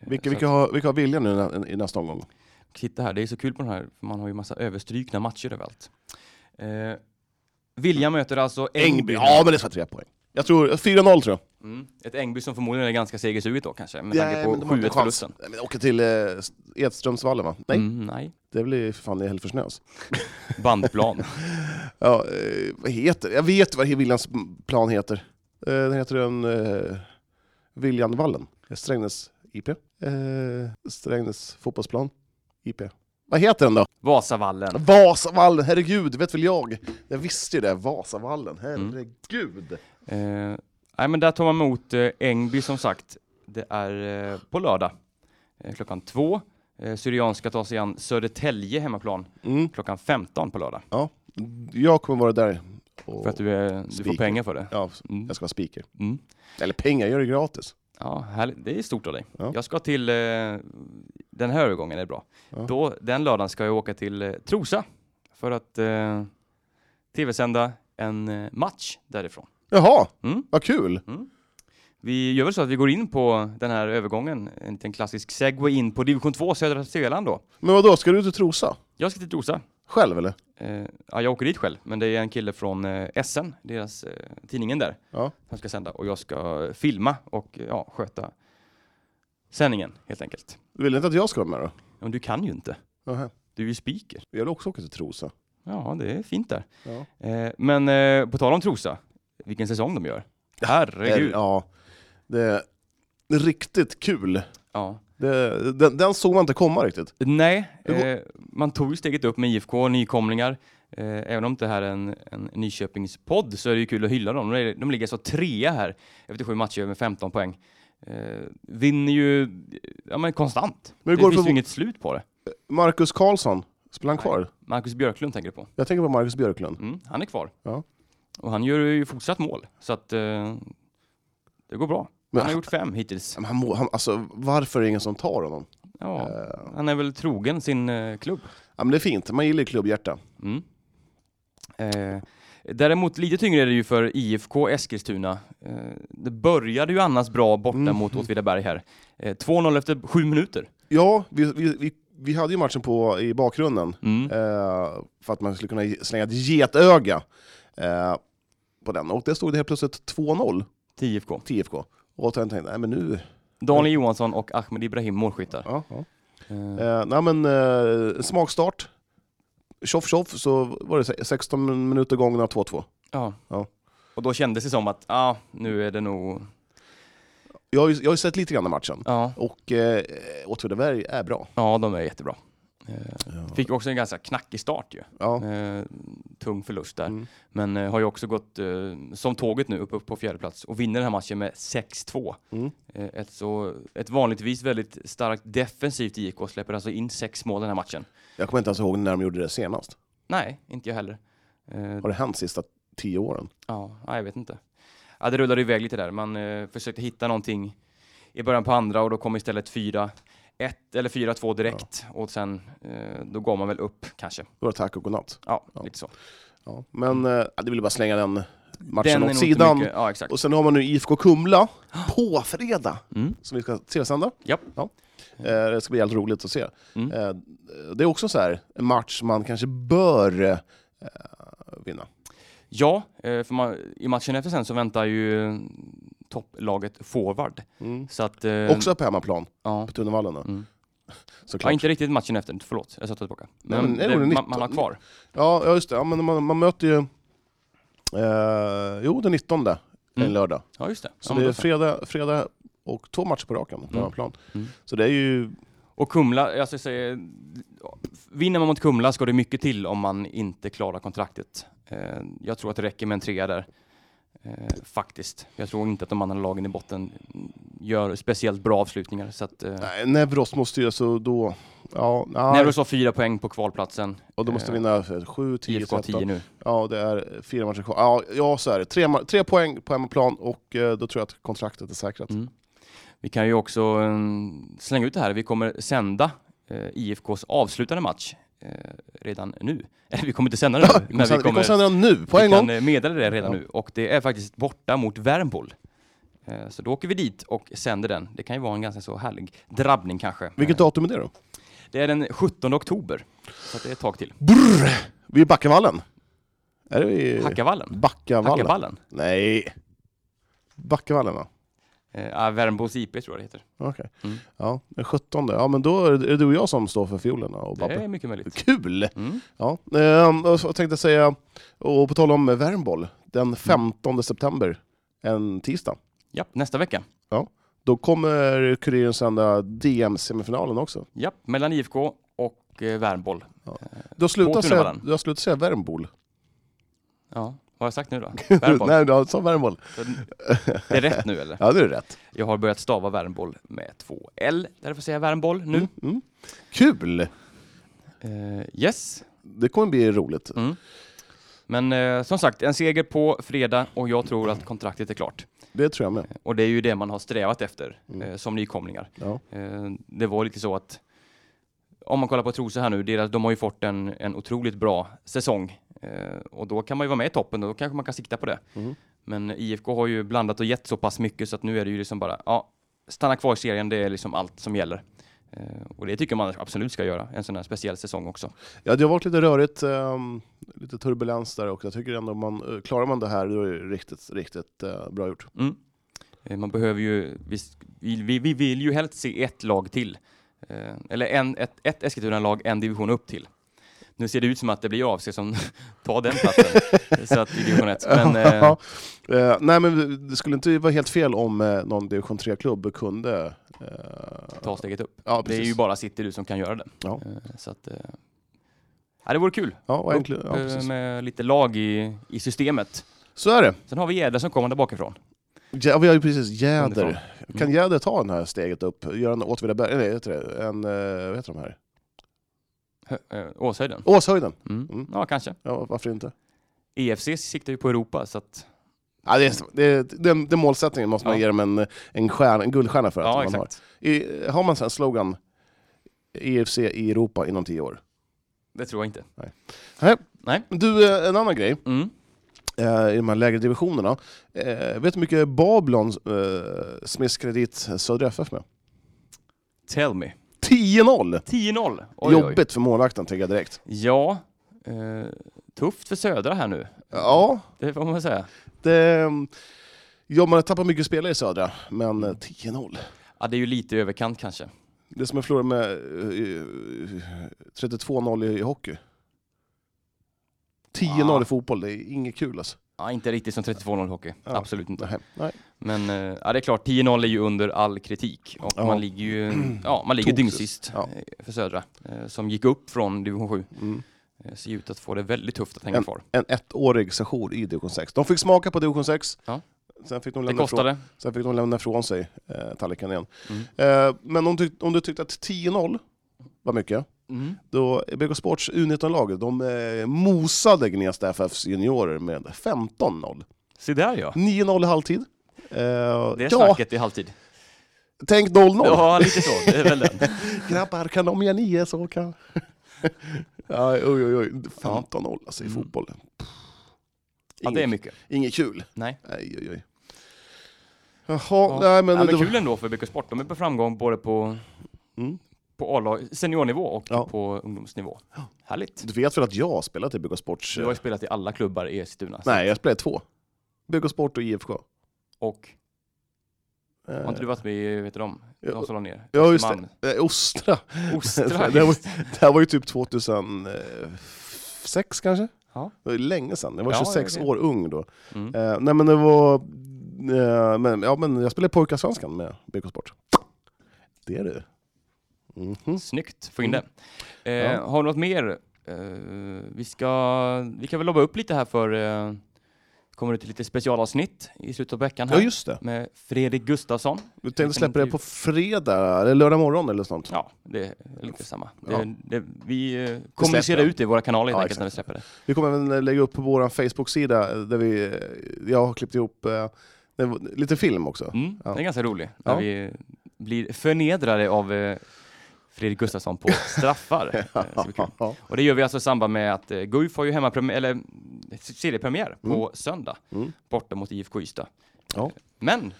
Eh, Vilka, så vilka, att- har, vilka har William nu nä- i nästa omgång? Titta här, det är så kul på den här, för man har ju massa överstrykna matcher överallt. Eh, Vilja möter alltså Ängby. Ja, men det ska tre poäng. Jag tror 4-0 tror jag. Mm. Ett Ängby som förmodligen är ganska segersuget då kanske, med tanke på 7-1 förlusten. Nej, men åka till eh, Edströmsvallen va? Nej, Mm, nej. det blir för fan i Hälleforsnäs. Bandplan. Ja, eh, vad heter det? Jag vet vad Viljans plan heter. Eh, den heter den eh, Viljanvallen. Strängnäs IP. Eh, Strängnäs fotbollsplan. IP. Vad heter den då? Vasavallen. Vasavallen, herregud, vet väl jag? Jag visste ju det, Vasavallen, Mm. herregud. Eh, nej, men där tar man emot eh, Engby som sagt. Det är eh, på lördag eh, klockan två. Eh, Syrianska tar sig an Södertälje hemmaplan Mm. klockan 15 på lördag. Jag kommer vara där. Och, För att du, är, du får Speaker. pengar för det. Ja, Mm. jag ska vara speaker. Mm. Eller pengar, jag gör det gratis. Ja, härligt. Det är stort av dig. Ja. Jag ska till, eh, den här övergången är bra. Ja. Då, den lördagen ska jag åka till eh, Trosa för att eh, tv-sända en eh, match därifrån. Jaha, Mm. vad kul! Vi gör väl så att vi går in på den här övergången, en liten klassisk segway in på division 2, södra Svealand då. Men vadå, ska du ut och trosa? Jag ska till Trosa. Själv eller? Eh, ja, jag åker dit själv, men det är en kille från eh, SN, deras eh, tidningen där, Ja. som ska sända och jag ska eh, filma och eh, ja, sköta sändningen helt enkelt. Du vill inte att jag ska vara med då? Men du kan ju inte, Nähä. du är ju speaker. Jag vill också åka till Trosa. Ja, det är fint där. Ja. Eh, men eh, på tal om Trosa, vilken säsong de gör. Herregud. Ja, det är riktigt kul. Ja. Det, den, den såg man inte komma riktigt. Nej, Det går- eh, man tog ju steget upp med IFK, nykomlingar. Eh, även om det här är en, en Nyköpingspodd så är det ju kul att hylla dem. De, är, de ligger alltså trea här efter sju matcher med 15 poäng. Eh, vinner ju ja, men konstant. Men hur det går det finns för- ju inget slut på det. Marcus Karlsson, spelar han kvar? Marcus Björklund tänker du på. Jag tänker på Marcus Björklund. Mm, han är kvar. Ja. Och han gör ju fortsatt mål, så att eh, det går bra. Men- Han har gjort fem hittills. Men han, må- han, alltså, varför är det ingen som tar honom? Ja, Eh, han är väl trogen sin eh, klubb. ja, men det är fint, man gillar ju klubbhjärta. Mm. Eh, däremot lite tyngre är det ju för IFK Eskilstuna. Eh, det började ju annars bra borta Mm. mot Åtvidaberg här. Eh, 2-0 efter sju minuter. Ja, vi, vi, vi, vi hade ju matchen på i bakgrunden, Mm. eh, för att man skulle kunna ge- slänga ett getöga eh, på den. Och det stod det helt plötsligt 2-0 Till IFK. till IFK. Och jag tänkte, nej men nu... Daniel Johansson och Ahmed Ibrahim målskyttar. Ja, ja. Eh, Eh, nej men eh, smakstart. Tjoff tjoff så var det se- 16 minuter gångna 2-2. ja. ja. Och då kändes det som att, ja, ah, nu är det nog... Jag har ju, jag har ju sett lite grann av matchen. Ja, Och eh, Åtvidaberg är bra. ja de är jättebra. Eh, fick också en ganska knackig start ju. Ja. Eh, tung förlust där. Mm. Men eh, har ju också gått eh, som tåget nu upp, upp på fjärde plats och vinner den här matchen med 6-2. Mm. Eh, ett, så, ett vanligtvis väldigt starkt defensivt IK släpper alltså in sex mål den här matchen. Jag kommer inte ens ihåg när de gjorde det senast. Nej, inte jag heller. Eh, Har det hänt sista tio åren? ja, nej, jag vet inte. Ja, det rullade iväg lite där. Man eh, försökte hitta någonting i början på andra och då kom istället 4-1 eller 4-2 direkt och sen eh, då går man väl upp kanske. Då var det tack och godnatt. Ja, Ja. lite så. Ja. Men eh, det vill jag bara slänga den Mm. Den är matchen nog åt inte mycket- sidan. Ja, exakt. Och sen har man nu IFK Kumla på fredag, Mm. som vi ska tv-sända. Japp. Ja. Eh, det ska bli jävligt roligt att se. Mm. Eh, det är också så här, en match som man kanske bör eh, vinna. Ja, eh, för man, i matchen efter sen så väntar ju eh, topplaget forward. Så att, eh, Också på hemmaplan, Ja, på Tunnevallen då. Mm. Såklart. ja, inte riktigt matchen efter, förlåt, jag satte tillbaka. Nej, Men, men är det det, den man, man har 19? kvar. Ja, ja, just det. Ja, men man, man möter ju... Eh, jo, den 19 en Mm. lördag. Ja, just det. Så Ja, men det är då så. fredag, fredag och två matcher på raken på hemmaplan. Mm. Så det är ju... Och Kumla, alltså jag säger, vinner man mot Kumla ska det mycket till om man inte klarar kontraktet. Eh, jag tror att det räcker med en trea där. Eh, faktiskt. Jag tror inte att de andra lagen i botten gör speciellt bra avslutningar. Så att, eh, Nej, Nevros måste ju så då... Ja, nej. Näros har fyra poäng på kvalplatsen. och då måste eh, vinna 7, 10, IFK har 10 13. nu. Ja, det är fyra matcher kvar. Ja, ja så är det. Tre, ma- tre poäng på hemmaplan och eh, då tror jag att kontraktet är säkrat. Mm. Vi kan ju också mm, slänga ut det här. Vi kommer sända eh, IFKs avslutande match eh, redan nu. Eller vi kommer inte sända den nu, Vi kommer men vi sända- vi kommer, kommer sända den nu, på vi en kan gång. eh, meddela det redan Ja. nu. Och det är faktiskt borta mot Värmboll. Eh, så då åker vi dit och sänder den. Det kan ju vara en ganska så härlig drabbning kanske. Vilket Eh, datum är det då? det är den 17 oktober. Så att det är ett tag till. Vid Backavallen? Är det vid... Hackavallen. Backavallen? Hackavallen. Nej. Backavallen va? Eh, ja, Värmbos IP tror jag det heter. Okej. Mm. Ja, den 17. Ja, men då är det är det du och jag som står för fiolerna och Det är Babben. mycket möjligt. Kul! Mm. Ja, ehm, och så tänkte jag säga, och på tal om Värmboll, Mm. den 15 september, en tisdag, Ja, nästa vecka. då kommer Kuriren sända DM-semifinalen också. Ja, mellan IFK och eh, Värmboll. Du har På slutat säga, Tunavallen. du har slutat säga Värmboll. Ja, vad har jag sagt nu då? Värmboll. Nej, du sa Värmboll. Så Det är rätt nu eller? Ja, det är rätt. Jag har börjat stava värmboll med två L. Därför säger jag värmboll nu. Mm. Kul! Eh, yes. Det kommer bli roligt. Mm. Men eh, som sagt, en seger på fredag och jag tror att kontraktet är klart. Det tror jag med. Och det är ju det man har strävat efter eh, som nykomlingar. Ja. Eh, det var lite så att om man kollar på Trosa här nu, deras, de har ju fått en, en otroligt bra säsong. Eh, och då kan man ju vara med i toppen och då kanske man kan sikta på det. Mm. Men IFK har ju blandat och gett så pass mycket så att nu är det ju liksom bara, ja, stanna kvar i serien, det är liksom allt som gäller. Eh, och det tycker man absolut ska göra, en sån här speciell säsong också. Ja, det har varit lite rörigt, ehm, lite turbulens där och jag tycker ändå man eh, klarar man det här, då är det riktigt, riktigt eh, bra gjort. Mm. Eh, Man behöver ju, vi, vi, vi vill ju helst se ett lag till. Eh, Eller en, ett, ett Eskilstuna-lag, en division upp till. Nu ser det ut som att det blir AFC som tar den platsen så att i division 1. Men eh, Ja. Eh, nej, men det skulle inte vara helt fel om eh, någon division 3-klubb kunde... eh, ta steget upp. ja, det är precis. ju bara City du som kan göra det. Ja. Eh, Så att, eh, ja, det vore kul ja, och upp, enkl- ja, eh, precis. med lite lag i, i systemet. Så är det. Sen har vi Gädda som kommer där bakifrån. Ja, vi har ju precis Underifrån. Mm. Jäder. Kan Jäder ta det här steget upp? Göra en Åtvidaberg... Nej, heter det? En, eh, vad heter de här? Hö- eh, Åshöjden. Åshöjden! Mm. Mm. Ja, kanske. Ja, varför inte? EFC siktar ju på Europa så att Ja, det är, det, den, den målsättningen måste man Ja. ge dem en, en, stjärna, en guldstjärna för. Att Ja, man exakt. Har. I, har man sen slogan EFC i Europa inom tio år? Det tror jag inte. Du, eh, en annan grej Mm. eh, i de här lägre divisionerna. Eh, Vet du hur mycket Babylon eh, smisskredit Södra FF med? Tell me. 10-0! 10-0. Oj, oj. Jobbigt för målvakten, tänker jag direkt. Ja, eh, tufft för Södra här nu. Ja, Det får man väl säga. det, ehm, ja, man har tappat mycket spelare i Södra, men eh, 10-0. Ja, det är ju lite i överkant kanske. Det är som jag förlorade med eh, eh, 32-0 i, i hockey. 10-0 i Ah. fotboll, det är inget kul alltså. Ja, inte riktigt som 32-0 hockey. Ja. Absolut inte. Nej, nej. Men eh, ja, det är klart, 10-0 är ju under all kritik. Och Ja. man ligger ju ja, man ligger Tok dyngsist Ja. eh, för Södra, eh, som gick upp från division 7. Mm. Eh, Ser ut att få det väldigt tufft att hänga kvar. En ettårig session i division 6. De fick smaka på division 6, Ja. sen, fick de Det lämna ifrån, kostade. sen fick de lämna ifrån sig eh, tallriken igen. Mm. Eh, men om, tyck, om du tyckte att 10-0 var mycket, Mm. då BK Sports U19-lag, de eh, mosade Gnesta FFs juniorer med 15-0. Se där ja. 9-0 i halvtid. Det Eh, är ja, snacket i halvtid. tänk 0-0! Ja, lite så. Det är väl den. Grabbar, kan de ge nio så kan... ja, oj, oj, oj. 15-0 alltså i Mm. fotboll. Ja, det är mycket. Inget kul. Nej. Nej, oj, oj. Jaha, Ja. nej Men, men... ja, men det var- kul ändå för BK Sport. De är på framgång både på, Mm. på A-lag, seniornivå och Ja. på ungdomsnivå. Härligt. Du vet väl att jag har spelat i BK Sports? eh, Du har ju spelat i alla klubbar i Eskilstuna. så- Nej, jag spelade i två. BK Sport och IFK. Och Eh, har inte du varit med i, vet du dem? Ja. De som la ner? Ja, just Östermalm. det. Eh, Ostra. Ostra. det, här var, just. det här var ju typ 2006 kanske? Ja. Det var ju länge sedan. Jag var Ja, det är 26 det. år ung då. Mm. Eh, nej men det var... Eh, men, ja, men jag spelade pojkarsvenskan med BK Sport. Det är du. Mhm. Snyggt, få in det. Eh, Mm. Ja. Har du något mer? Eh, vi, ska, vi kan väl lobba upp lite här för eh, kommer ut lite specialavsnitt i slutet av veckan här Ja just det. med Fredrik Gustafsson. Du tänkte släppa det intervju. på fredag, eller lördag morgon eller sånt. Ja, det är lite samma. Ja. Det, det, vi eh, kommunicerar det. ut det i våra kanaler helt Ja, enkelt när vi exakt. släpper det. Vi kommer även eh, lägga upp på vår Facebook-sida eh, där vi, eh, jag har klippt ihop eh, det var lite film också. Mm, Ja. Den är ganska rolig. Ja. När vi eh, blir förnedrade av eh, Fredrik Gustafsson på straffar. Eh, så det blir kul. Ja. Och det gör vi alltså i samband med att eh, Guif har ju hemmapremiär, eller seriepremiär på söndag Mm. borta mot IFK Ystad. Ja. Men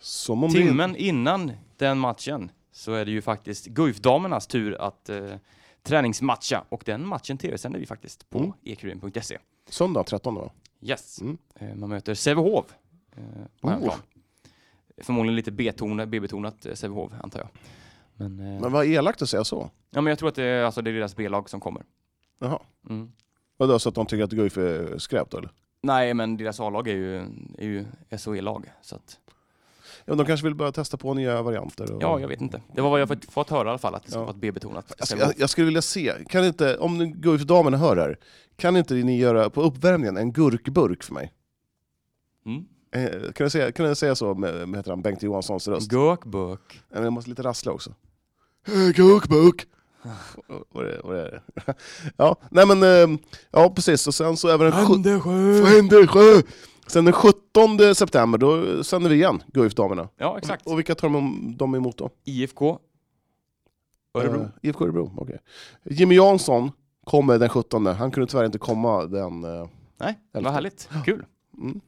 Som om det- timmen innan den matchen så är det ju faktiskt Guif-damernas tur att eh, träningsmatcha och den matchen tv-sänder vi faktiskt på E Mm. ekuriren.se. Söndag 13 va? Yes. Mm. Eh, man möter Sävehof eh, på Oh. hemmaplan. Förmodligen lite B-tonat, B-betonat eh, Sävehof antar jag. Men, eh, Men vad elakt att säga så. ja, men jag tror att det är, alltså, det är deras B-lag som kommer. Jaha. Mm. Vadå, så att de tycker att Guif är skräp då eller? Nej, men deras A-lag är ju, är ju SOE-lag. Så att, Ja, de kanske vill börja testa på nya varianter? Och... ja, jag vet inte. Det var vad jag fått, fått höra i alla fall, att det ska Ja. vara ett B-betonat. Jag, skulle- jag, jag skulle vilja se, kan inte, om nu Guif-damerna hör här, kan inte ni göra på uppvärmningen en gurkburk för mig? Mm. Eh, kan, jag säga, kan jag säga så med, med heter han, Bengt Johanssons röst? Gökbök. Nej, men jag måste lite rassla också. Eh, Gurkburk! Ah. Och- och det- och det är det. ja, nej men, eh, ja precis, och sen så även den, sjut- Frändesjö! sen den 17 september, då sänder vi igen Guif-damerna. Ja, exakt. Och vilka tar de, de emot då? IFK. Örebro. Eh, IFK Örebro, okej. Jimmy Jansson kommer den 17, han kunde tyvärr inte komma den... eh, Nej, elfte. vad härligt. Kul. Det är Mm.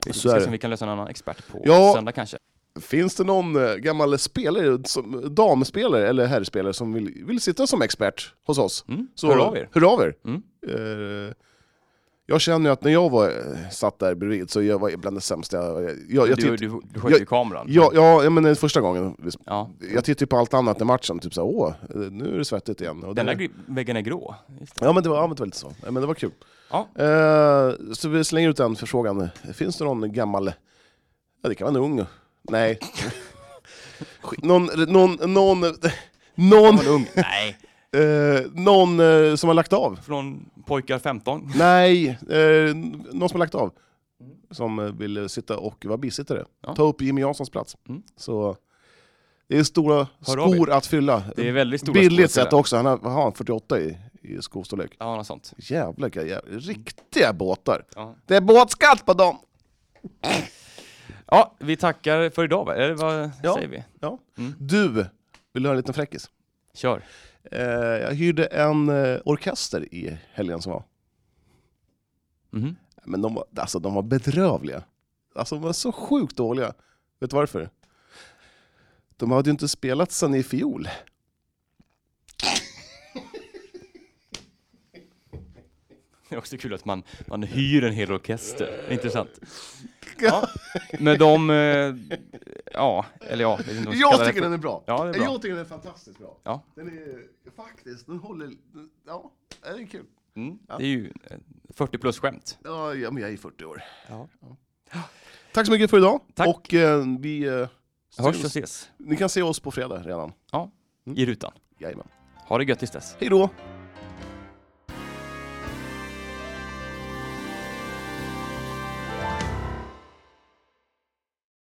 Så en är fråga det. som vi kan lösa en annan expert på Ja. söndag kanske. Finns det någon eh, gammal spelare, som, damspelare eller herrspelare som vill, vill sitta som expert hos oss? Mm. Så, Hör av er. Hör av er. Mm. Eh, jag känner ju att när jag var, eh, satt där bredvid så jag var bland det sämsta jag... jag, jag, jag du, titt, du, du sköt jag- ju kameran. ja, ja, ja, men det är första gången. visst. Ja. Jag tittar ju på allt annat i matchen, typ såhär åh, eh, nu är det svettigt igen. Och Den det- där gri- väggen är grå. Just det. Ja men det var, ja, men det var lite så, Ja, men det var kul. Ja. Eh, så vi slänger ut den förfrågan, finns det någon gammal, ja det kan vara en ung, nej. Skit- någon, någon, någon, någon, Var ung? Nej, eh, någon eh, som har lagt av? från pojkar 15. Nej, eh, någon som har lagt av. Som eh, vill eh, sitta och vara bisittare. Ja. Ta upp Jimmy Janssons plats. Mm. Så det är stora av er. skor att fylla. Det är väldigt stora Billigt skor att sett fylla. också, han har, vad har han, 48 i, i skostorlek. Ja, något sånt. Jävlar vilka jä- riktiga båtar. Ja. Det är båtskatt på dem! ja, vi tackar för idag va? Eller vad Ja. säger vi? Ja. Mm. Du, vill du höra en liten fräckis? Kör. Eh, jag hyrde en eh, orkester i helgen som var. Mhm. Men de var, alltså, de var bedrövliga. Alltså de var så sjukt dåliga. Vet du varför? De hade ju inte spelat sedan i fjol. Det är också kul att man, man hyr en hel orkester. Intressant. Ja, med de... Eh, ja, eller ja. vet inte vad ska kalla Jag det tycker för. den är bra! Ja, det är bra. Jag tycker den är fantastiskt bra. Ja. Den är faktiskt, den håller... Ja, det är kul. Mm. Det är ju eh, 40 plus skämt. Ja, ja, men jag är 40 år. Ja. Tack så mycket för idag. Tack. Och eh, vi... Eh, Hörs och syns. ses Ni kan se oss på fredag redan. i rutan. Jajamän. Ha det gött tills dess. Hej då!